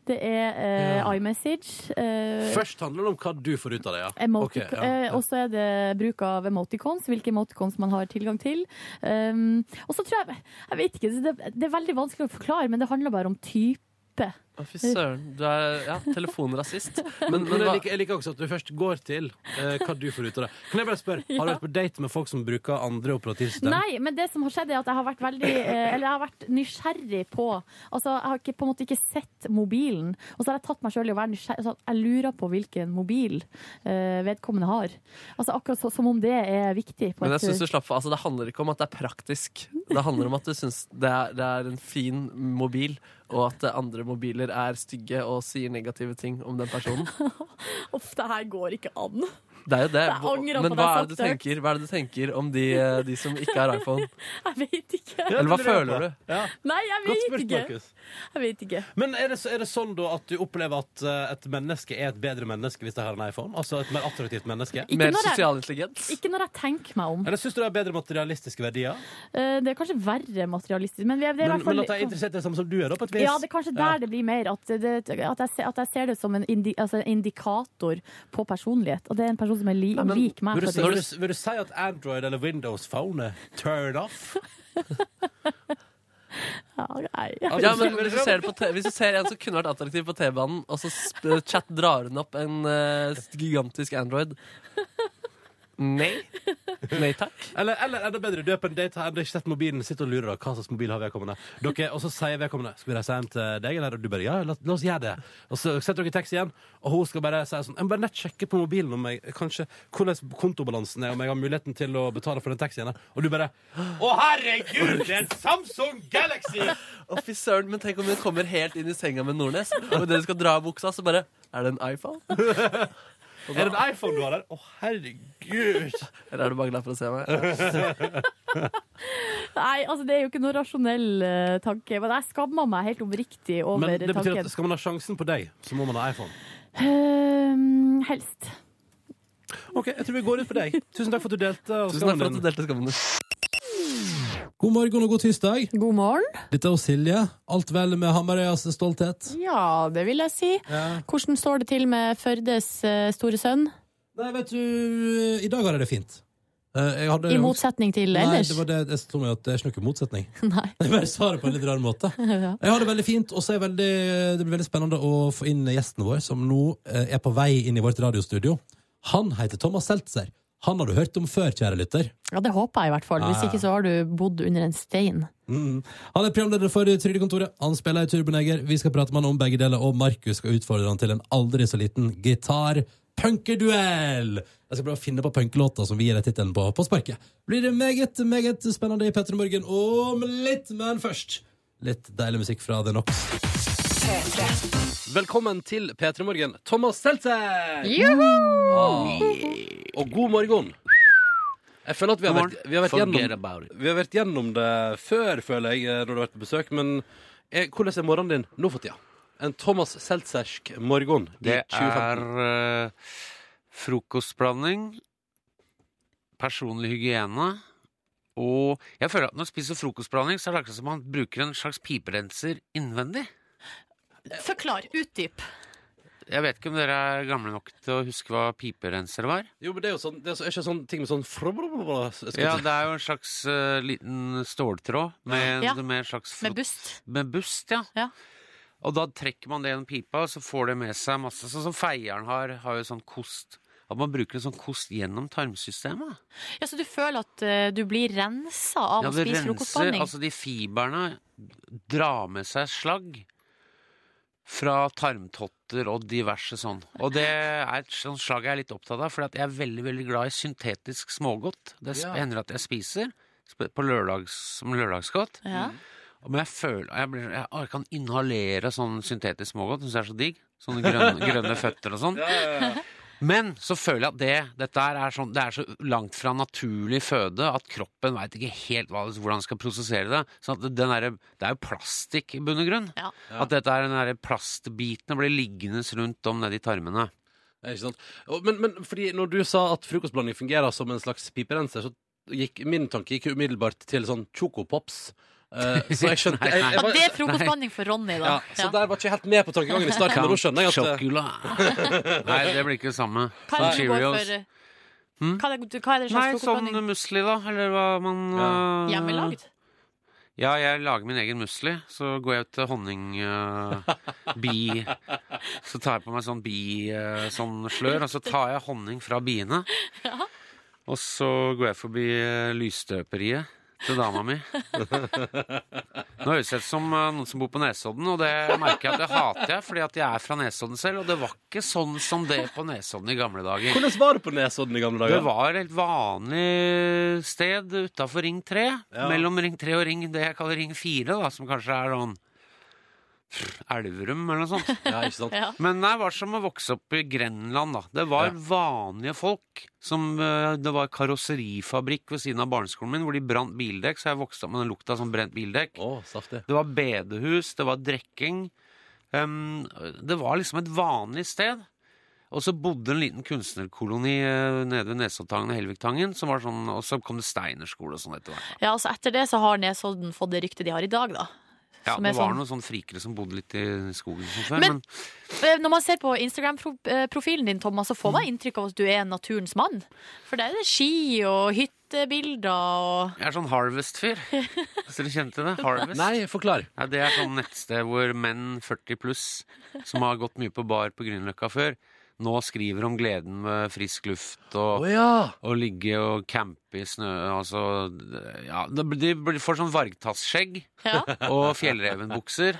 [SPEAKER 3] Det er eh,
[SPEAKER 4] Ja.
[SPEAKER 3] iMessage. eh,
[SPEAKER 4] Først handler det om hva du får ut av det, ja.
[SPEAKER 3] Emotic-
[SPEAKER 4] Ok, ja.
[SPEAKER 3] eh, og så er det bruk av emoticons, hvilke emoticons man har tilgang til. Um, og så tror jeg Jeg vet ikke, det, det er veldig vanskelig å forklare, men det handler bare om type.
[SPEAKER 2] Å, Fy søren. Du er ja, telefonrasist. Men,
[SPEAKER 4] Men
[SPEAKER 2] men
[SPEAKER 4] jeg
[SPEAKER 2] hva?
[SPEAKER 4] liker, jeg liker også at du først går til eh, hva du får ut av det. Kan jeg bare spørre, Har du vært på date med folk som bruker andre operativsystem?
[SPEAKER 3] Nei, men det som har skjedd, er at jeg har vært veldig eh, Eller jeg har vært nysgjerrig på Altså, jeg har ikke, på en måte ikke sett mobilen, og så har jeg tatt meg sjøl i å være nysgjerrig. Altså, jeg lurer på hvilken mobil eh, vedkommende har. Altså akkurat så, som om det er viktig. på
[SPEAKER 2] Men jeg
[SPEAKER 3] et-
[SPEAKER 2] synes du slapp av. Altså, det handler ikke om at det er praktisk. Det handler om at du syns det, er- det er en fin mobil, og at eh, andre mobiler er stygge og sier negative ting om den personen.
[SPEAKER 3] Uff, det her går ikke an.
[SPEAKER 2] Det er jo det.
[SPEAKER 3] Jeg angrer på
[SPEAKER 2] Men
[SPEAKER 3] det
[SPEAKER 2] hva
[SPEAKER 3] jeg
[SPEAKER 2] er det du
[SPEAKER 3] sagt
[SPEAKER 2] tenker, hva er det du tenker om de, eh, de som ikke har iPhone?
[SPEAKER 3] Jeg vet ikke.
[SPEAKER 2] Eller hva føler du?
[SPEAKER 3] Nei, jeg
[SPEAKER 4] Godt
[SPEAKER 3] vet
[SPEAKER 4] spurt,
[SPEAKER 3] ikke.
[SPEAKER 4] Markus.
[SPEAKER 3] Jeg vet ikke.
[SPEAKER 4] Men er det, så- er det sånn da at du opplever at eh, et menneske er et bedre menneske hvis de har en iPhone? Altså et mer attraktivt menneske?
[SPEAKER 3] Ikke Mer når jeg- sosial
[SPEAKER 2] intelligens?
[SPEAKER 3] Ikke når jeg tenker meg om.
[SPEAKER 4] Eller syns du det er bedre materialistiske verdier?
[SPEAKER 3] Eh, Det er kanskje verre materialistisk, men vi er, det er i
[SPEAKER 4] Men,
[SPEAKER 3] hvert fall
[SPEAKER 4] men at de er interessert i det samme som du er, da, på et vis?
[SPEAKER 3] Ja, det er kanskje der det blir mer. At, det, at, jeg, ser- at jeg ser det som en indi, altså en indikator på personlighet. At det er en person som er li, lik meg.
[SPEAKER 4] vil,
[SPEAKER 3] på
[SPEAKER 4] du,
[SPEAKER 3] et
[SPEAKER 4] vil,
[SPEAKER 3] vis.
[SPEAKER 4] du, vil du si at Android eller Windows Phone er turned off?
[SPEAKER 3] Ja, nei, jeg vet
[SPEAKER 2] Ja,
[SPEAKER 3] ikke.
[SPEAKER 2] men hvis du, ser det på te- hvis du ser en som kunne vært attraktiv på T-banen, og så sp- chat drar hun opp en eh, gigantisk Android Nei. Nei takk.
[SPEAKER 4] Eller, eller enda bedre, du er på en date, har ennå ikke sett mobilen, sitter og lurer da, hva slags mobil har vedkommende. Dere, og så sier vedkommende skal vi reise hjem til deg, eller? Og du bare ja, la, la oss gjøre det. Og så setter dere i taxi igjen, og hun skal bare si sånn jeg må bare nett sjekke på mobilen om jeg kanskje hvordan kontobalansen er, om jeg har muligheten til å betale for den taxien. der. Og du bare Å, herregud, det er en Samsung Galaxy!
[SPEAKER 2] Å, fy søren, men tenk om hun kommer helt inn i senga med Nordnes, og idet du skal dra av buksa, så bare Er det en iPhone?
[SPEAKER 4] Er det en iPhone du har der? Å, herregud!
[SPEAKER 2] Eller er du bare glad for å se meg?
[SPEAKER 3] nei, altså det er jo ikke noe rasjonell eh, tanke. Men jeg skammer meg helt oppriktig over
[SPEAKER 4] Men det betyr
[SPEAKER 3] tanken.
[SPEAKER 4] at skal man ha sjansen på deg, så må man ha iPhone.
[SPEAKER 3] Ehm, helst.
[SPEAKER 4] OK, jeg tror vi går ut på deg. Tusen takk for at du delte. og
[SPEAKER 2] Tusen takk for at du
[SPEAKER 4] skammen din.
[SPEAKER 2] delte skammen din.
[SPEAKER 9] God morgen og god tirsdag.
[SPEAKER 13] God morgen.
[SPEAKER 9] Dette er Silje. Alt vel med Hamarøyas stolthet?
[SPEAKER 13] Ja, det vil jeg si. Hvordan står det til med Førdes eh, store sønn?
[SPEAKER 9] Nei, vet du, i dag har jeg det fint. Eh, Jeg hadde
[SPEAKER 13] I motsetning til
[SPEAKER 9] Nei,
[SPEAKER 13] ellers?
[SPEAKER 9] det var det jeg slo meg at det er ikke noe motsetning.
[SPEAKER 13] Nei.
[SPEAKER 9] Jeg bare sa det på en litt rar måte.
[SPEAKER 13] Ja.
[SPEAKER 9] Jeg har det veldig fint, og så er jeg veldig, det blir veldig spennende å få inn gjesten vår, som nå eh, er på vei inn i vårt radiostudio. Han heter Thomas Seltzer. Han har du hørt om før, kjære lytter.
[SPEAKER 13] Ja, det håper jeg i hvert fall. Hvis
[SPEAKER 9] Ja, ja.
[SPEAKER 13] ikke så har du bodd under en stein.
[SPEAKER 9] Mm. Han er programleder for Trygdekontoret. Han spiller i Turboneger. Vi skal prate med han om begge deler, og Markus skal utfordre han til en aldri så liten gitar-punkerduell! Jeg skal prøve å finne på punkelåter som vi gir deg tittelen på på sparket. Blir det meget, meget spennende i Petter i Morgen om litt, men først litt deilig musikk fra The Knox.
[SPEAKER 4] Velkommen til P3 Morgen, Thomas Seltzer!
[SPEAKER 9] Juhu!
[SPEAKER 5] Mm.
[SPEAKER 4] Ah, og god morgen. Jeg føler at vi har
[SPEAKER 14] God
[SPEAKER 4] vært,
[SPEAKER 14] morgen.
[SPEAKER 4] vi har vært,
[SPEAKER 14] Forget
[SPEAKER 4] gjennom, vi har vært gjennom det før, føler jeg, eh, når du har vært på besøk. Men er, hvordan er morgenen din nå for tida? En Thomas Seltzersk morgen i
[SPEAKER 14] Det
[SPEAKER 4] 2015.
[SPEAKER 14] er eh, frokostblanding, personlig hygiene og Jeg føler at når jeg spiser frokostblanding, så er det akkurat som om man bruker en slags piperenser innvendig.
[SPEAKER 5] Forklar. Utdyp.
[SPEAKER 14] Jeg vet ikke om dere er gamle nok til å huske hva piperenser var?
[SPEAKER 4] Jo, men det er jo sånn, det er så, er ikke sånn ting med sånn froblablabla
[SPEAKER 14] Ja, det er jo en slags eh, liten ståltråd med,
[SPEAKER 4] Ja.
[SPEAKER 14] med en slags
[SPEAKER 5] Med bust.
[SPEAKER 14] Med bust, ja. Og da trekker man det gjennom pipa, og så får det med seg masse Sånn som feieren har, har jo sånn kost. At man bruker en sånn kost gjennom tarmsystemet.
[SPEAKER 5] Ja, så du føler at eh, du blir rensa av å
[SPEAKER 14] Ja, det
[SPEAKER 5] spise
[SPEAKER 14] renser,
[SPEAKER 5] frokostblanding?
[SPEAKER 14] Altså, de fiberne drar med seg slagg fra tarmtotter og diverse sånn. Og det er et sånt slag jeg er litt opptatt av, for jeg er veldig veldig glad i syntetisk smågodt. Det sp-
[SPEAKER 15] Ja.
[SPEAKER 14] hender at jeg spiser sp- på lørdags, som lørdagsgodt.
[SPEAKER 15] Ja.
[SPEAKER 14] Men jeg føler jeg, blir, jeg, å, jeg kan inhalere sånn syntetisk smågodt. Det syns jeg er så digg. Sånne grønne, grønne føtter og sånn. Men så føler jeg at det, dette her er, sånn, det er så langt fra naturlig føde at kroppen veit ikke helt hva, hvordan den skal prosessere det. Sånn at den derre- det er jo plastikk i bunn og grunn. At dette er den derre plastbiten blir liggende rundt om nedi tarmene.
[SPEAKER 4] Ja, Ikke sant? Og- Men, men fordi når du sa at frokostblanding fungerer som en slags piperenser, så gikk min tanke gikk umiddelbart til sånn chocopops. Eh, så jeg skjønte jeg, jeg
[SPEAKER 5] ja,
[SPEAKER 4] var-
[SPEAKER 5] det er frokostblanding for Ronny, da.
[SPEAKER 4] Ja, så der var ikke jeg helt med på tankegangen i starten, men nå skjønner jeg at eh,
[SPEAKER 14] Nei, det blir ikke det samme
[SPEAKER 5] Hva er
[SPEAKER 14] som
[SPEAKER 5] det du går
[SPEAKER 14] Cheerios.
[SPEAKER 5] for? eh, Hva er det, hva er det slags
[SPEAKER 14] Hm? Nei, sånn
[SPEAKER 5] frokostblanding?
[SPEAKER 14] musli, da. Eller hva man øh,
[SPEAKER 5] Hjemmelagd?
[SPEAKER 14] Ja, jeg lager min egen musli. Så går jeg ut til honning øh, bi Så tar jeg på meg sånn bi øh, sånn slør, og så tar jeg honning fra biene. Og så går jeg forbi øh, lysstøperiet til dama mi. Nå høres jeg ut som øh, noen som bor på Nesodden, og det merker jeg at det hater jeg, fordi at jeg er fra Nesodden selv, og det var ikke sånn som det på Nesodden i gamle dager.
[SPEAKER 4] Hvordan var det på Nesodden i gamle dager?
[SPEAKER 14] Det var et vanlig sted utafor Ring 3.
[SPEAKER 4] Ja.
[SPEAKER 14] Mellom Ring 3 og Ring det jeg kaller Ring 4, da, som kanskje er sånn pff, Elverum eller noe sånt.
[SPEAKER 15] Ja.
[SPEAKER 14] Men det var som å vokse opp i Grenland, da. Det var vanlige folk som eh, Det var karosserifabrikk ved siden av barneskolen min hvor de brant bildekk, så jeg vokste opp med den lukta som brent bildekk. Det var bedehus, det var drekking. Em, det var liksom et vanlig sted. Og så bodde en liten kunstnerkoloni eh, nede ved Nesoddtangen og Helviktangen, som var sånn, og så kom det steinerskole og sånn etter hvert.
[SPEAKER 5] Ja, altså Etter det så har Nesodden fått det ryktet de har i dag, da.
[SPEAKER 14] Ja,
[SPEAKER 5] Som er
[SPEAKER 14] det var
[SPEAKER 5] sånn-
[SPEAKER 14] noen sånne frikere som bodde litt i skogen som før,
[SPEAKER 5] Men-
[SPEAKER 14] men,
[SPEAKER 5] Eh, Når man ser på Instagram-profilen din, Thomas, så får man
[SPEAKER 14] Hm.
[SPEAKER 5] inntrykk av at du er en naturens mann. For der er det ski og hyttebilder og
[SPEAKER 14] jeg er sånn Harvest-fyr. Hvis dere kjente det? Harvest.
[SPEAKER 4] Nei, forklar.
[SPEAKER 14] Ja, det er sånn nettsted hvor menn 40 pluss som har gått mye på bar på Grünerløkka før, nå skriver om gleden med frisk luft og
[SPEAKER 4] Å ja.
[SPEAKER 14] å ligge og campe i snø altså, ja, det blir- De blir- får sånn vargtassskjegg og fjellrevenbukser.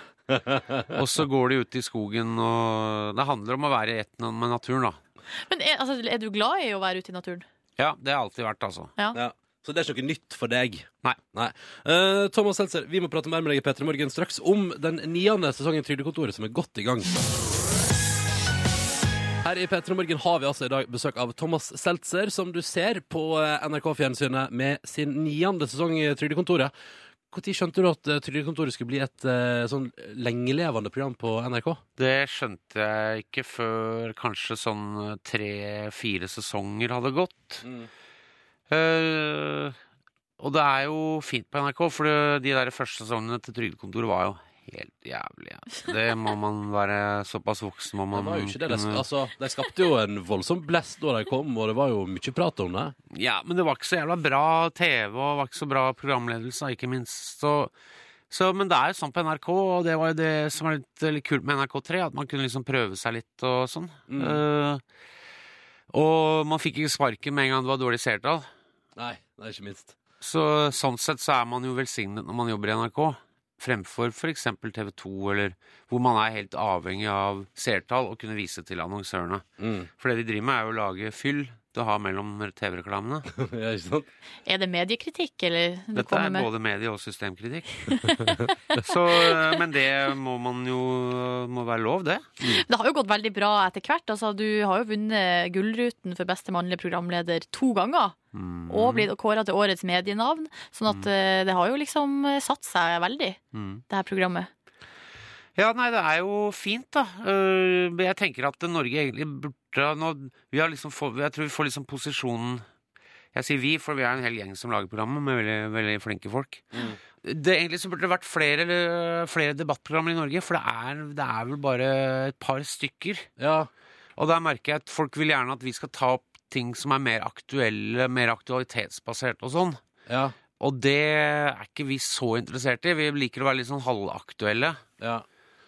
[SPEAKER 14] Og så går de ut i skogen og Det handler om å være i ett med naturen, da.
[SPEAKER 5] Men er, altså, er du glad i å være ute i naturen?
[SPEAKER 14] Ja, det har jeg alltid vært, altså.
[SPEAKER 5] Ja.
[SPEAKER 4] Så det er ikke noe nytt for deg?
[SPEAKER 14] Nei.
[SPEAKER 4] Eh, Thomas Seltzer, vi må prate mer med deg i P3 Morgen straks om den niende sesongen i Trygdekontoret, som er godt i gang. Her i P3 Morgen har vi altså i dag besøk av Thomas Seltzer, som du ser på eh, NRK-fjernsynet med sin niende sesong i Trygdekontoret. Når skjønte du at eh, Trygdekontoret skulle bli et eh, sånn lengelevende program på NRK?
[SPEAKER 14] Det skjønte jeg ikke før kanskje sånn tre-fire sesonger hadde gått.
[SPEAKER 4] Mm.
[SPEAKER 14] Eh, og det er jo fint på NRK, for det- de der første sesongene til Trygdekontoret var jo helt jævlig. altså. Det må man være såpass voksen må man
[SPEAKER 4] Det var jo ikke det.
[SPEAKER 14] kunne-
[SPEAKER 4] De, altså, de skapte jo en voldsom blest da de kom, og det var jo mye prat om det.
[SPEAKER 14] Ja, men det var ikke så jævla bra TV, og det var ikke så bra programledelse, ikke minst. Så, så, men det er jo sånn på NRK, og det var jo det som
[SPEAKER 4] Mm.
[SPEAKER 14] var litt, litt kult med NRK3, at man kunne liksom prøve seg litt og sånn.
[SPEAKER 15] Mm.
[SPEAKER 14] Eh, Og man fikk ikke sparken med en gang det var dårlig seertall.
[SPEAKER 4] Nei, nei, ikke minst.
[SPEAKER 14] Så sånn sett så er man jo velsignet når man jobber i NRK, fremfor f.eks. TV 2, eller hvor man er helt avhengig av seertall og kunne vise til annonsørene.
[SPEAKER 4] Mm.
[SPEAKER 14] For det de driver med, er jo å lage fyll du har mellom TV-reklamene.
[SPEAKER 4] ja, ikke sant?
[SPEAKER 5] Er det mediekritikk, eller? du
[SPEAKER 14] Dette
[SPEAKER 5] kommer
[SPEAKER 14] er
[SPEAKER 5] med?
[SPEAKER 14] både medie- og systemkritikk. så, eh, men det må man jo må være lov, det.
[SPEAKER 5] Det har jo gått veldig bra etter hvert. Altså, du har jo vunnet Gullruten for beste mannlige programleder to ganger.
[SPEAKER 14] Mm.
[SPEAKER 5] Og
[SPEAKER 14] Mhm.
[SPEAKER 5] blitt kåra til årets medienavn. Sånn at eh, det har jo liksom eh, satt seg veldig,
[SPEAKER 14] Mm.
[SPEAKER 5] det her programmet.
[SPEAKER 14] Ja, nei, det er jo fint, da. Eh, men jeg tenker at Norge egentlig burde ha nå Vi har liksom få, Jeg tror vi får liksom posisjonen Jeg sier vi, for vi er en hel gjeng som lager programmet, med veldig, veldig flinke folk. Det, egentlig så burde det vært flere, eh, flere debattprogrammer i Norge, for det er, det er vel bare et par stykker. Og der merker jeg at folk vil gjerne at vi skal ta opp ting som er mer aktuelle, mer aktualitetsbasert og sånn. Og det er ikke vi så interessert i. Vi liker å være litt sånn halvaktuelle.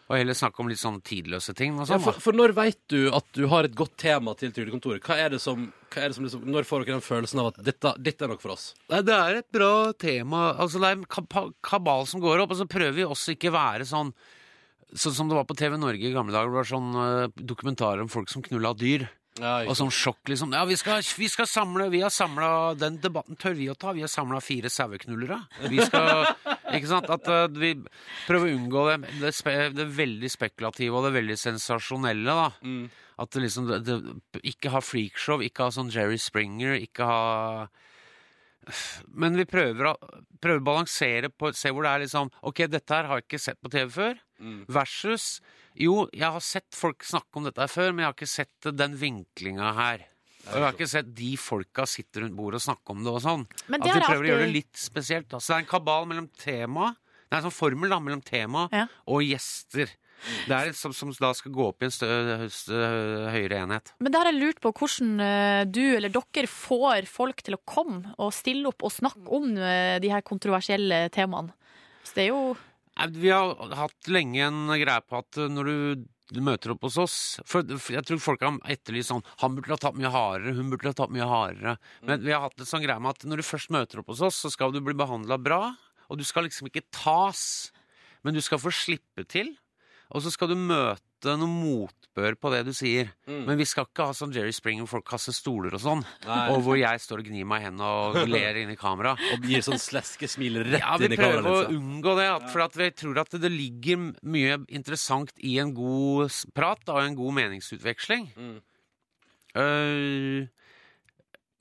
[SPEAKER 14] Og heller snakke om litt sånn tidløse ting. Og
[SPEAKER 4] Ja,
[SPEAKER 14] sånn,
[SPEAKER 4] for,
[SPEAKER 14] da.
[SPEAKER 4] for når vet du at du har et godt tema til Trygdekontoret? Hva er det som, hva er det som liksom, Når får dere den følelsen av at dette, dette er nok for oss?
[SPEAKER 14] Nei, det er et bra tema. Altså, det er en kapa- kabal som går opp, og så prøver vi også ikke være sånn Sånn som det var på TV Norge i gamle dager. Det var sånn eh, dokumentarer om folk som knulla dyr.
[SPEAKER 4] ikke
[SPEAKER 14] og sånn sjokk, liksom. Ja, vi skal, vi skal samle Vi har samla Den debatten tør vi å ta. Vi har samla fire saueknullere. Vi skal Ikke sant? At eh, vi prøver å unngå det, det, spe, det veldig spekulative og det veldig sensasjonelle, da. At det liksom det, det, Ikke ha freakshow, ikke ha sånn Jerry Springer, ikke ha men vi prøver å, prøver å balansere på Se hvor det er liksom Ok, dette her har jeg ikke sett på TV før. Versus Jo, jeg har sett folk snakke om dette her før, men jeg har ikke sett den vinklinga her. Og jeg har ikke sett de folka sitte rundt bordet og snakke om det og sånn.
[SPEAKER 5] Men
[SPEAKER 14] At
[SPEAKER 5] det
[SPEAKER 14] vi
[SPEAKER 5] er
[SPEAKER 14] prøver å gjøre
[SPEAKER 5] alltid-
[SPEAKER 14] det litt spesielt. Da. Så det er en kabal mellom tema Det er en sånn formel da, mellom tema og gjester. Det er et som, som da skal gå opp i en stø, stø, høyere enhet.
[SPEAKER 5] Men det har jeg lurt på hvordan eh, du eller dere får folk til å komme og stille opp og snakke om eh, de her kontroversielle temaene. Så det er jo
[SPEAKER 14] Nei, Vi har hatt lenge en greie på at uh, når du du møter opp hos oss For for jeg tror folk har etterlyst sånn Han burde ha tatt mye hardere, hun burde ha tatt mye hardere.
[SPEAKER 4] Mm.
[SPEAKER 14] Men vi har hatt en sånn greie med at når du først møter opp hos oss, så skal du bli behandla bra. Og du skal liksom ikke tas, men du skal få slippe til. Og så skal du møte noe motbør på det du sier.
[SPEAKER 4] Mm.
[SPEAKER 14] Men vi skal ikke ha sånn Jerry Springer hvor folk kaster stoler og sånn.
[SPEAKER 4] Nei.
[SPEAKER 14] Og hvor jeg står og gnir meg i hendene og ler inn i kamera.
[SPEAKER 4] Og gir sånn sleskesmil rett
[SPEAKER 14] Ja, vi
[SPEAKER 4] inn i liksom.
[SPEAKER 14] prøver å
[SPEAKER 4] kameralinsa.
[SPEAKER 14] unngå det, at, for at vi tror at det ligger m- mye interessant i en god s- prat da, og en god meningsutveksling.
[SPEAKER 4] Mm.
[SPEAKER 14] Eh,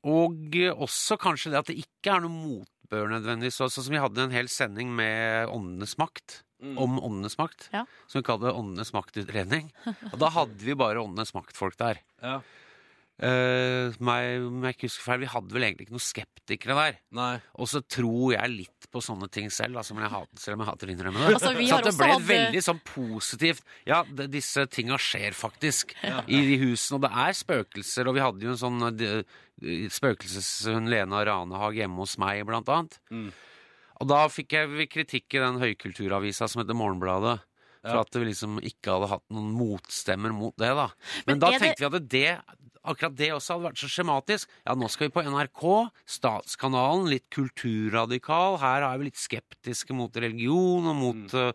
[SPEAKER 14] og også kanskje det at det ikke er noe motbør nødvendigvis. så- Sånn som vi hadde en hel sending med Åndenes makt.
[SPEAKER 4] Mm.
[SPEAKER 14] Om Åndenes makt.
[SPEAKER 5] Ja.
[SPEAKER 14] Som vi kalte Åndenes maktutredning. Og da hadde vi bare Åndenes maktfolk der.
[SPEAKER 4] Ja.
[SPEAKER 14] Eh, meg, om jeg ikke husker feil, vi hadde vel egentlig ikke noen skeptikere der. Og så tror jeg litt på sånne ting selv, da, som jeg hater, selv om jeg hater å innrømme det.
[SPEAKER 15] Altså, vi
[SPEAKER 14] så
[SPEAKER 15] har
[SPEAKER 14] at det
[SPEAKER 15] også
[SPEAKER 14] ble
[SPEAKER 15] hatt-
[SPEAKER 14] veldig sånn positivt. Ja, det, disse tinga skjer faktisk i de husene, og det er spøkelser. Og vi hadde jo en sånn eh, de- spøkelseshund Lena Ranehag hjemme hos meg, blant annet. Og da fikk jeg kritikk i den høykulturavisa som heter Morgenbladet. For
[SPEAKER 4] Ja.
[SPEAKER 14] at vi liksom ikke hadde hatt noen motstemmer mot det, da.
[SPEAKER 4] Men
[SPEAKER 14] Men, da
[SPEAKER 4] er det-
[SPEAKER 14] tenkte vi at det, akkurat det også hadde vært så skjematisk. Ja, nå skal vi på NRK, statskanalen, litt kulturradikal. Her er vi litt skeptiske mot religion og mot
[SPEAKER 4] Mm.
[SPEAKER 14] eh,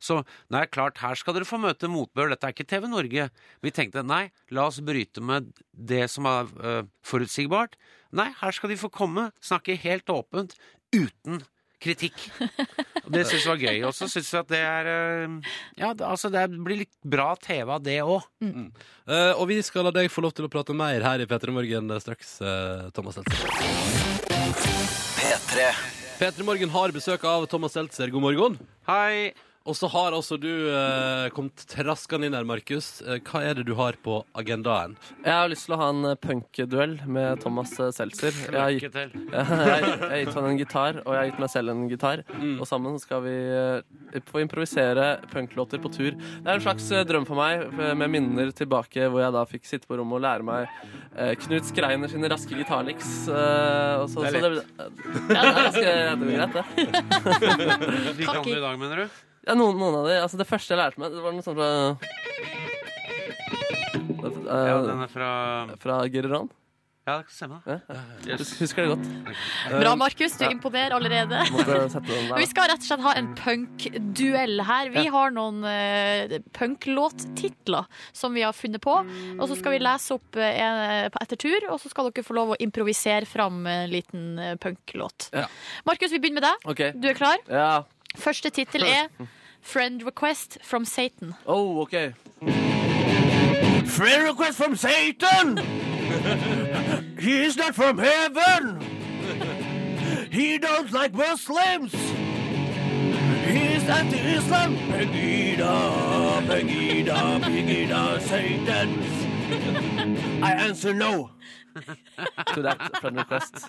[SPEAKER 14] Så det er klart, her skal dere få møte motbør. Dette er ikke TV Norge. Vi tenkte nei, la oss bryte med det som er eh, forutsigbart. Nei, her skal de få komme, snakke helt åpent, uten kritikk. Og det syns vi var gøy. Og så syns vi at det er eh, Ja, det, altså det blir litt bra TV av det òg.
[SPEAKER 4] Eh, og vi skal la deg få lov til å prate mer her i P3 Morgen eh, straks, eh, Thomas Seltzer.
[SPEAKER 1] P3.
[SPEAKER 4] P3 Morgen har besøk av Thomas Seltzer. God morgen.
[SPEAKER 14] Hei.
[SPEAKER 4] Og så har altså du eh, kommet traskende inn her, Markus. Eh, hva er det du har på agendaen?
[SPEAKER 2] Jeg har lyst til å ha en eh, punkduell med Thomas eh, Seltzer. Jeg har gitt,
[SPEAKER 14] Lykke til.
[SPEAKER 2] jeg har jeg har gitt han en gitar, og jeg har gitt meg selv en gitar.
[SPEAKER 14] Mm.
[SPEAKER 2] Og sammen skal vi eh, få improvisere punklåter på tur. Det er en slags eh, drøm for meg, eh, med minner tilbake hvor jeg da fikk sitte på rommet og lære meg eh, Knut Skreiner sine raske gitarliks. eh, og så,
[SPEAKER 14] Det er
[SPEAKER 2] så
[SPEAKER 14] lett.
[SPEAKER 2] ja, det er ganske det er greit, det.
[SPEAKER 14] De kan du i dag, mener du?
[SPEAKER 2] Ja, noen, noen av de. Altså, det første jeg lærte meg, det var noe sånt fra
[SPEAKER 14] Ja, den er fra
[SPEAKER 2] Fra Gereran?
[SPEAKER 14] Ja, det stemmer.
[SPEAKER 2] Ja. ja. Hus- Husker det godt.
[SPEAKER 14] Eh,
[SPEAKER 3] Bra, Markus. Du
[SPEAKER 2] Ja.
[SPEAKER 3] imponerer allerede.
[SPEAKER 2] Måtte sette den der,
[SPEAKER 3] Vi
[SPEAKER 2] da.
[SPEAKER 3] skal rett og slett ha en punkduell her. Vi
[SPEAKER 2] Mm. Ja.
[SPEAKER 3] har noen uh, punklåttitler som vi har funnet på. Og så skal vi lese opp eh, en, på etter tur, og så skal dere få lov å improvisere fram en liten eh, punklåt.
[SPEAKER 2] Ja.
[SPEAKER 3] Markus, vi begynner med deg.
[SPEAKER 2] Ok. Mm.
[SPEAKER 3] Du er klar?
[SPEAKER 2] Ja.
[SPEAKER 3] Første tittel er Friend Request from Satan.
[SPEAKER 2] Oh, ok. Friend request from Satan! He is not from heaven! He don't like Muslims! He is anti-Islam! Pegida, Pegida, Pegida, Satan! I answer no! to that friend request.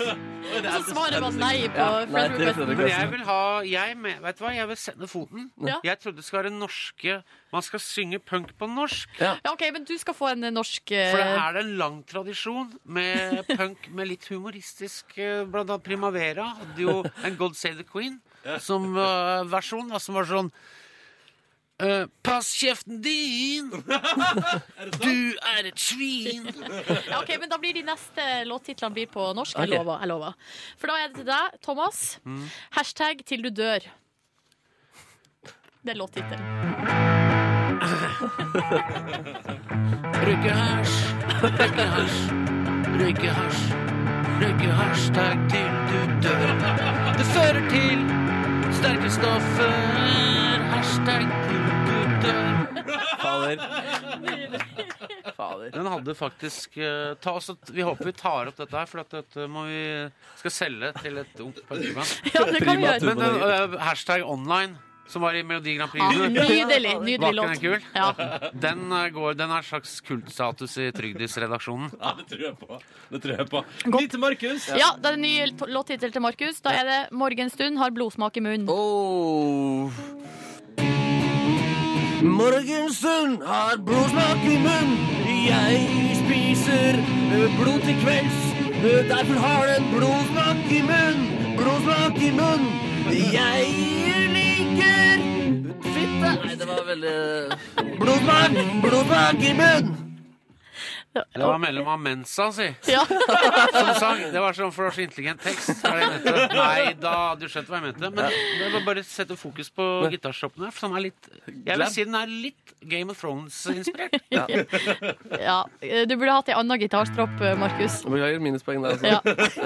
[SPEAKER 3] Og så svarer man nei på
[SPEAKER 2] Ja, nei,
[SPEAKER 3] Friend
[SPEAKER 2] det er
[SPEAKER 3] Request.
[SPEAKER 2] Friend
[SPEAKER 14] Men jeg
[SPEAKER 2] Request.
[SPEAKER 14] vil ha jeg med, Vet du hva, jeg vil sende foten.
[SPEAKER 3] Ja.
[SPEAKER 14] Jeg trodde det skal være norske Man skal synge punk på norsk.
[SPEAKER 3] Ja, OK, men du skal få en eh, norsk eh,
[SPEAKER 14] For det er det en lang tradisjon med punk med litt humoristisk eh, Blant annet Primavera hadde jo en God Save the Queen som eh, versjon, da, som var sånn eh, Pass kjeften din! Du er et svin!
[SPEAKER 3] Ja, ok, men Da blir de neste låttitlene blir på norsk.
[SPEAKER 14] Ok.
[SPEAKER 3] Jeg, lover, jeg lover. For da er det til deg, Thomas. Hashtag 'til du dør'. Det er låttittelen.
[SPEAKER 14] Røyke hasj, røyke hasj, røyke hasj. Røyke hashtag til du dør. Det fører til sterke stoffer. Hashtag til du dør.
[SPEAKER 2] Fader.
[SPEAKER 14] Den hadde faktisk eh, ta oss, og- Vi håper vi tar opp dette her, for at dette må vi skal selge til et ungt punkband.
[SPEAKER 3] Ja, det kan vi gjøre.
[SPEAKER 14] Men den, eh, hashtag online, som var i Melodi Grand Prix
[SPEAKER 3] Ja, nydelig, nydelig
[SPEAKER 14] Var ikke
[SPEAKER 3] låt.
[SPEAKER 14] den kul?
[SPEAKER 3] Ja.
[SPEAKER 14] Den, eh, går, den har en slags kultstatus i Trygdis-redaksjonen.
[SPEAKER 4] Ja, det tror jeg på. Det tror jeg på. Ny til Markus.
[SPEAKER 3] Ja, da er det ny to- låttittel til Markus. Da er det 'Morgenstund har blodsmak i munnen'.
[SPEAKER 2] Oh. Morgenstund har blodsmak i munnen. Jeg spiser ø, blod til kvelds. Ø, Derfor har den blodsmak i munnen. Blodsmak i munnen. Jeg liker fitte Nei, det var veldig eh, Blodsmak! Blodsmak i munnen!
[SPEAKER 14] Det var mellom av Mensa, si.
[SPEAKER 3] Ja.
[SPEAKER 14] Som sang. Det var sånn for å så intelligent tekst. Hva er det jeg mente? Nei da, du skjønte hva jeg mente. Men det var bare å sette fokus på gitarshoppen her, for den er litt Jeg vil
[SPEAKER 2] Glam.
[SPEAKER 14] si den er litt Game of Thrones-inspirert.
[SPEAKER 3] Ja. Ja, Du burde hatt ei anna gitarstropp, Markus.
[SPEAKER 2] Beklager minuspoeng der, altså.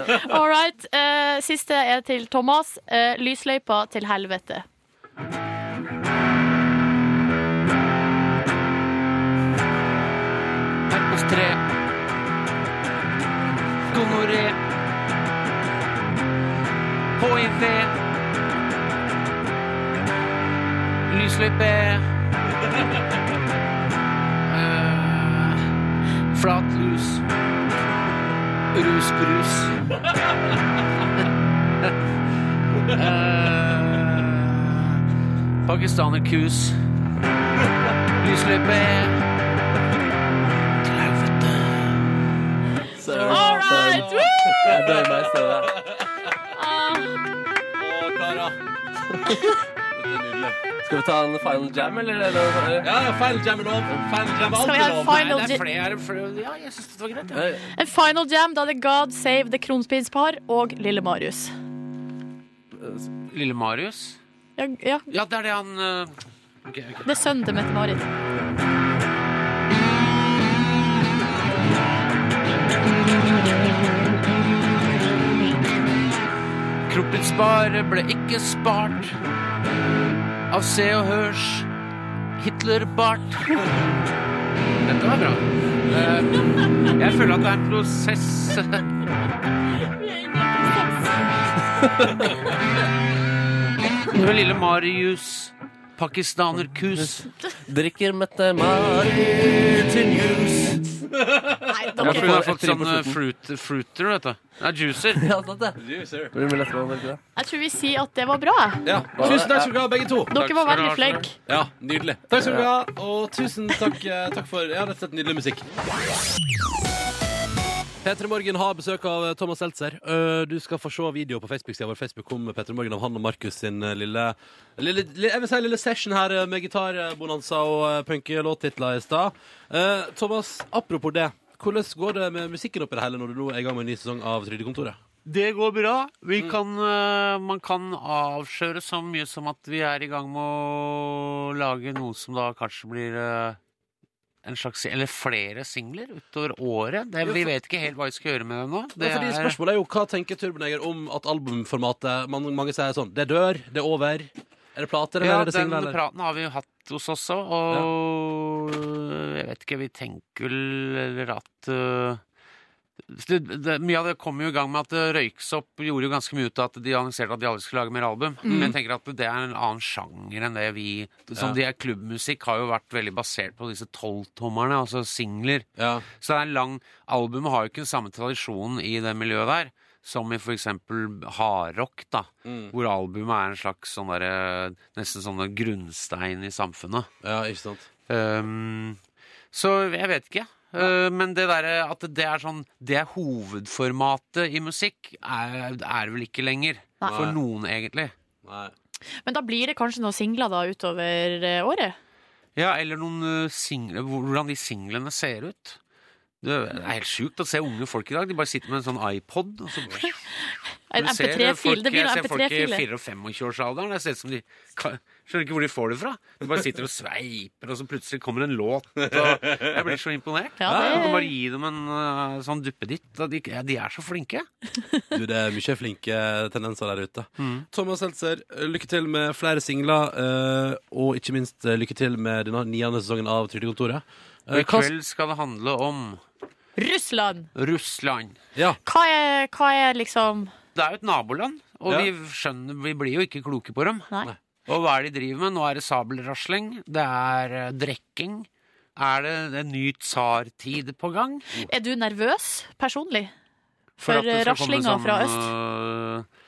[SPEAKER 3] Ja. All right. eh, siste er til Thomas. Eh, 'Lysløypa til helvete'.
[SPEAKER 14] Herpes 3. Gonoré. HIV. Lysløype. Eh, flat lus. Rusbrus. Eh, Pakistanerkus. Lysløype.
[SPEAKER 3] All right!
[SPEAKER 2] Jeg bøyer meg i stedet.
[SPEAKER 4] Å, Kara.
[SPEAKER 2] Skal vi ta en final jam, eller? eller?
[SPEAKER 4] Ja, ja, final jam er lov. Final jam er
[SPEAKER 3] Skal vi ha en
[SPEAKER 4] alltid lov.
[SPEAKER 3] final
[SPEAKER 4] Nei, det er
[SPEAKER 3] jam?
[SPEAKER 14] flere, flere. Ja, jeg syns det var greit.
[SPEAKER 2] Ja.
[SPEAKER 3] En final jam, da er det God Save The Kronsprinspar og Lille Marius.
[SPEAKER 14] Lille Marius?
[SPEAKER 3] Ja, ja.
[SPEAKER 14] Ja, det er det han eh, ok, ok.
[SPEAKER 3] Det er sønnen til Mette-Marit.
[SPEAKER 14] Kroppens spare ble ikke spart av Se og Hørs Hitlerbart. Dette var bra. Eh, jeg føler at det er en prosess. Det var lille Marius, pakistanerkus.
[SPEAKER 2] Drikker Mette-Mari til juice.
[SPEAKER 3] Nei,
[SPEAKER 14] Ja, for hun har fått sånn eh, fruit, fruiter, vet du. Nei, juicer.
[SPEAKER 2] Ja, sant det. Blir mye lettere å drikke det.
[SPEAKER 3] Jeg tror vi sier at det var bra.
[SPEAKER 4] Ja. Tusen takk skal dere ha, begge to.
[SPEAKER 3] Dere var veldig flinke.
[SPEAKER 4] Ja, nydelig. Takk skal dere ha, og tusen takk, eh, takk for ja, rett og slett nydelig musikk. P3 Morgen har besøk av eh, Thomas Seltzer. Eh, Du skal få se video på Facebook-sida vår. Facebook kom med P3 Morgen av han og Markus sin eh, lille, lille, lille, jeg vil si, lille session her eh, med gitarbonanza og eh, punky låttitler i stad. Eh, Thomas, apropos det. Hvordan går det med musikken oppi det hele når du nå er i gang med en ny sesong av Trygdekontoret?
[SPEAKER 14] Det går bra. Vi
[SPEAKER 4] Mm.
[SPEAKER 14] kan, eh, man kan avsløre så mye som at vi er i gang med å lage noe som da kanskje blir eh, en slags, eller flere singler utover året. Det,
[SPEAKER 4] Ja,
[SPEAKER 14] vi
[SPEAKER 4] for-
[SPEAKER 14] vet ikke helt hva vi skal gjøre med det nå.
[SPEAKER 4] Det fordi
[SPEAKER 14] er-
[SPEAKER 4] Spørsmålet er jo hva tenker Turboneger om at albumformatet man, Mange sier sånn Det dør, det er over. Er det plater eller
[SPEAKER 14] ja,
[SPEAKER 4] er det
[SPEAKER 14] den
[SPEAKER 4] singler? eller?
[SPEAKER 14] praten har vi jo hatt hos oss også, og jeg vet ikke, vi tenker vel eller at øh, det, det, Mye av det kom jo i gang med at øh, Røyksopp gjorde jo ganske mye ut av at de annonserte at de aldri skulle lage mer album.
[SPEAKER 15] Mm.
[SPEAKER 14] Men jeg tenker at det er en annen sjanger enn det vi som
[SPEAKER 15] Ja.
[SPEAKER 14] de er Klubbmusikk har jo vært veldig basert på disse tolvtommerne, altså singler. Så det er en lang Albumet har jo ikke den samme tradisjonen i det miljøet der. Som i for eksempel hardrock, da.
[SPEAKER 4] Mm.
[SPEAKER 14] Hvor albumet er en slags sånn derre Nesten sånne grunnstein i samfunnet.
[SPEAKER 4] Ja, ikke sant.
[SPEAKER 14] Um, så jeg vet ikke. Uh, men det derre at det er sånn Det er hovedformatet i musikk, er, er vel ikke lenger.
[SPEAKER 5] Nei.
[SPEAKER 14] For noen, egentlig.
[SPEAKER 5] Men da blir det kanskje noen singler da utover eh, året?
[SPEAKER 14] Ja, eller noen uh, singler Hvordan de singlene ser ut. Det er helt sjukt å se unge folk i dag. De bare sitter med en sånn iPod. Og så bare,
[SPEAKER 5] En
[SPEAKER 14] Du ser
[SPEAKER 5] MP3-fil.
[SPEAKER 14] folk-
[SPEAKER 5] Det blir
[SPEAKER 14] Jeg
[SPEAKER 5] en
[SPEAKER 14] ser folk i
[SPEAKER 5] MP3-fil.
[SPEAKER 14] 4- og 25-årsalderen. Det ser ut som de kan- Skjønner ikke hvor de får det fra. De bare sitter og sveiper, og så plutselig kommer en låt. Og jeg blir så imponert.
[SPEAKER 15] Ja, det-
[SPEAKER 14] Jeg kan bare gi dem en eh, sånn duppeditt. og De, ja, de er så flinke.
[SPEAKER 4] Du, det er mye flinke tendenser der ute.
[SPEAKER 14] Mm.
[SPEAKER 4] Thomas Seltzer, lykke til med flere singler, eh, og ikke minst eh, lykke til med denne niende sesongen av Trygdekontoret.
[SPEAKER 14] Og
[SPEAKER 4] Eh,
[SPEAKER 14] i kveld skal det handle om
[SPEAKER 5] Russland!
[SPEAKER 14] Russland.
[SPEAKER 4] Ja.
[SPEAKER 5] Hva er, hva er liksom
[SPEAKER 14] Det er jo et naboland, og
[SPEAKER 5] Ja.
[SPEAKER 14] vi, skjønner, vi blir jo ikke kloke på dem.
[SPEAKER 5] Nei.
[SPEAKER 14] Og hva er det de driver med? Nå er det sabelrasling, det er eh, drekking. Er det en ny tsartid på gang?
[SPEAKER 5] Er du nervøs personlig? For,
[SPEAKER 14] at det
[SPEAKER 3] eh,
[SPEAKER 14] skal komme eh,
[SPEAKER 5] raslinga fra øst?
[SPEAKER 14] øh,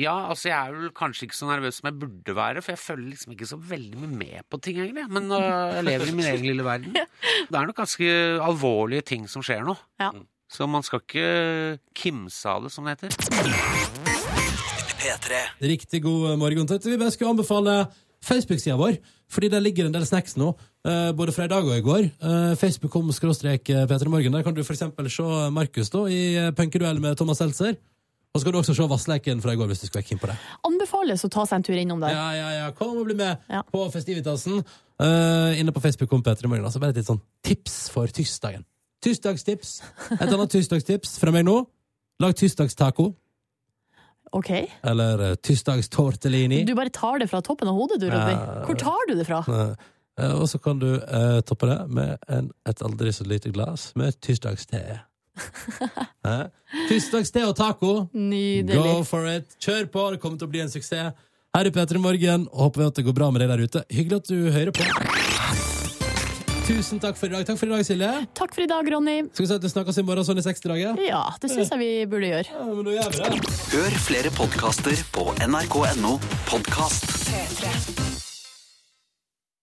[SPEAKER 14] Ja, altså jeg er vel kanskje ikke så nervøs som jeg burde være, for jeg følger liksom ikke så veldig mye med på ting, egentlig. Men øh, jeg lever i min egen lille verden. Det er nok ganske alvorlige ting som skjer nå.
[SPEAKER 5] Ja.
[SPEAKER 14] Så man skal ikke kimse av det, som det heter.
[SPEAKER 1] P3.
[SPEAKER 9] Riktig god morgen. Tete. Vi bare skulle anbefale Facebook-sida vår, fordi der ligger en del snacks nå. eh, både fra i dag og i går. Eh, Facebook kom skråstrek eh, Morgen. Der kan du for eksempel se Markus da, i eh, punkeduell med Thomas Seltzer. Og så kan du også se Vassleiken fra i går, hvis du skulle være keen på det.
[SPEAKER 13] Anbefales å ta seg en tur innom der.
[SPEAKER 9] Ja, ja, ja. Kom og bli med på festivitasen. Eh, inne på Facebook kom Petter i morgen. Altså bare et litt sånn tips for tirsdagen. Tirsdagstips. Et annet tirsdagstips fra meg nå. Lag tirsdagstaco.
[SPEAKER 13] Ok.
[SPEAKER 9] Eller eh, tirsdagstortellini.
[SPEAKER 13] Du bare tar det fra toppen av hodet, du, Ronny.
[SPEAKER 9] Ja.
[SPEAKER 13] Hvor tar du det fra?
[SPEAKER 9] Eh, eh, og så kan du eh, toppe det med en, et aldri så lite glass med tirsdagste. Eh? Tirsdagste og taco.
[SPEAKER 13] Nydelig.
[SPEAKER 9] Go for it. Kjør på, det kommer til å bli en suksess. Her i P3 Morgen, og håper vi at det går bra med deg der ute. Hyggelig at du hører på. Tusen takk for i dag. Takk for i dag, Silje.
[SPEAKER 13] Takk for i dag, Ronny.
[SPEAKER 9] Skal vi si at vi snakkes i morgen sånn i 60 dager?
[SPEAKER 13] Ja, det syns jeg vi burde gjøre.
[SPEAKER 9] Ja, men da gjør vi det.
[SPEAKER 1] Hør flere podkaster på nrk.no podkast.
[SPEAKER 16] P3.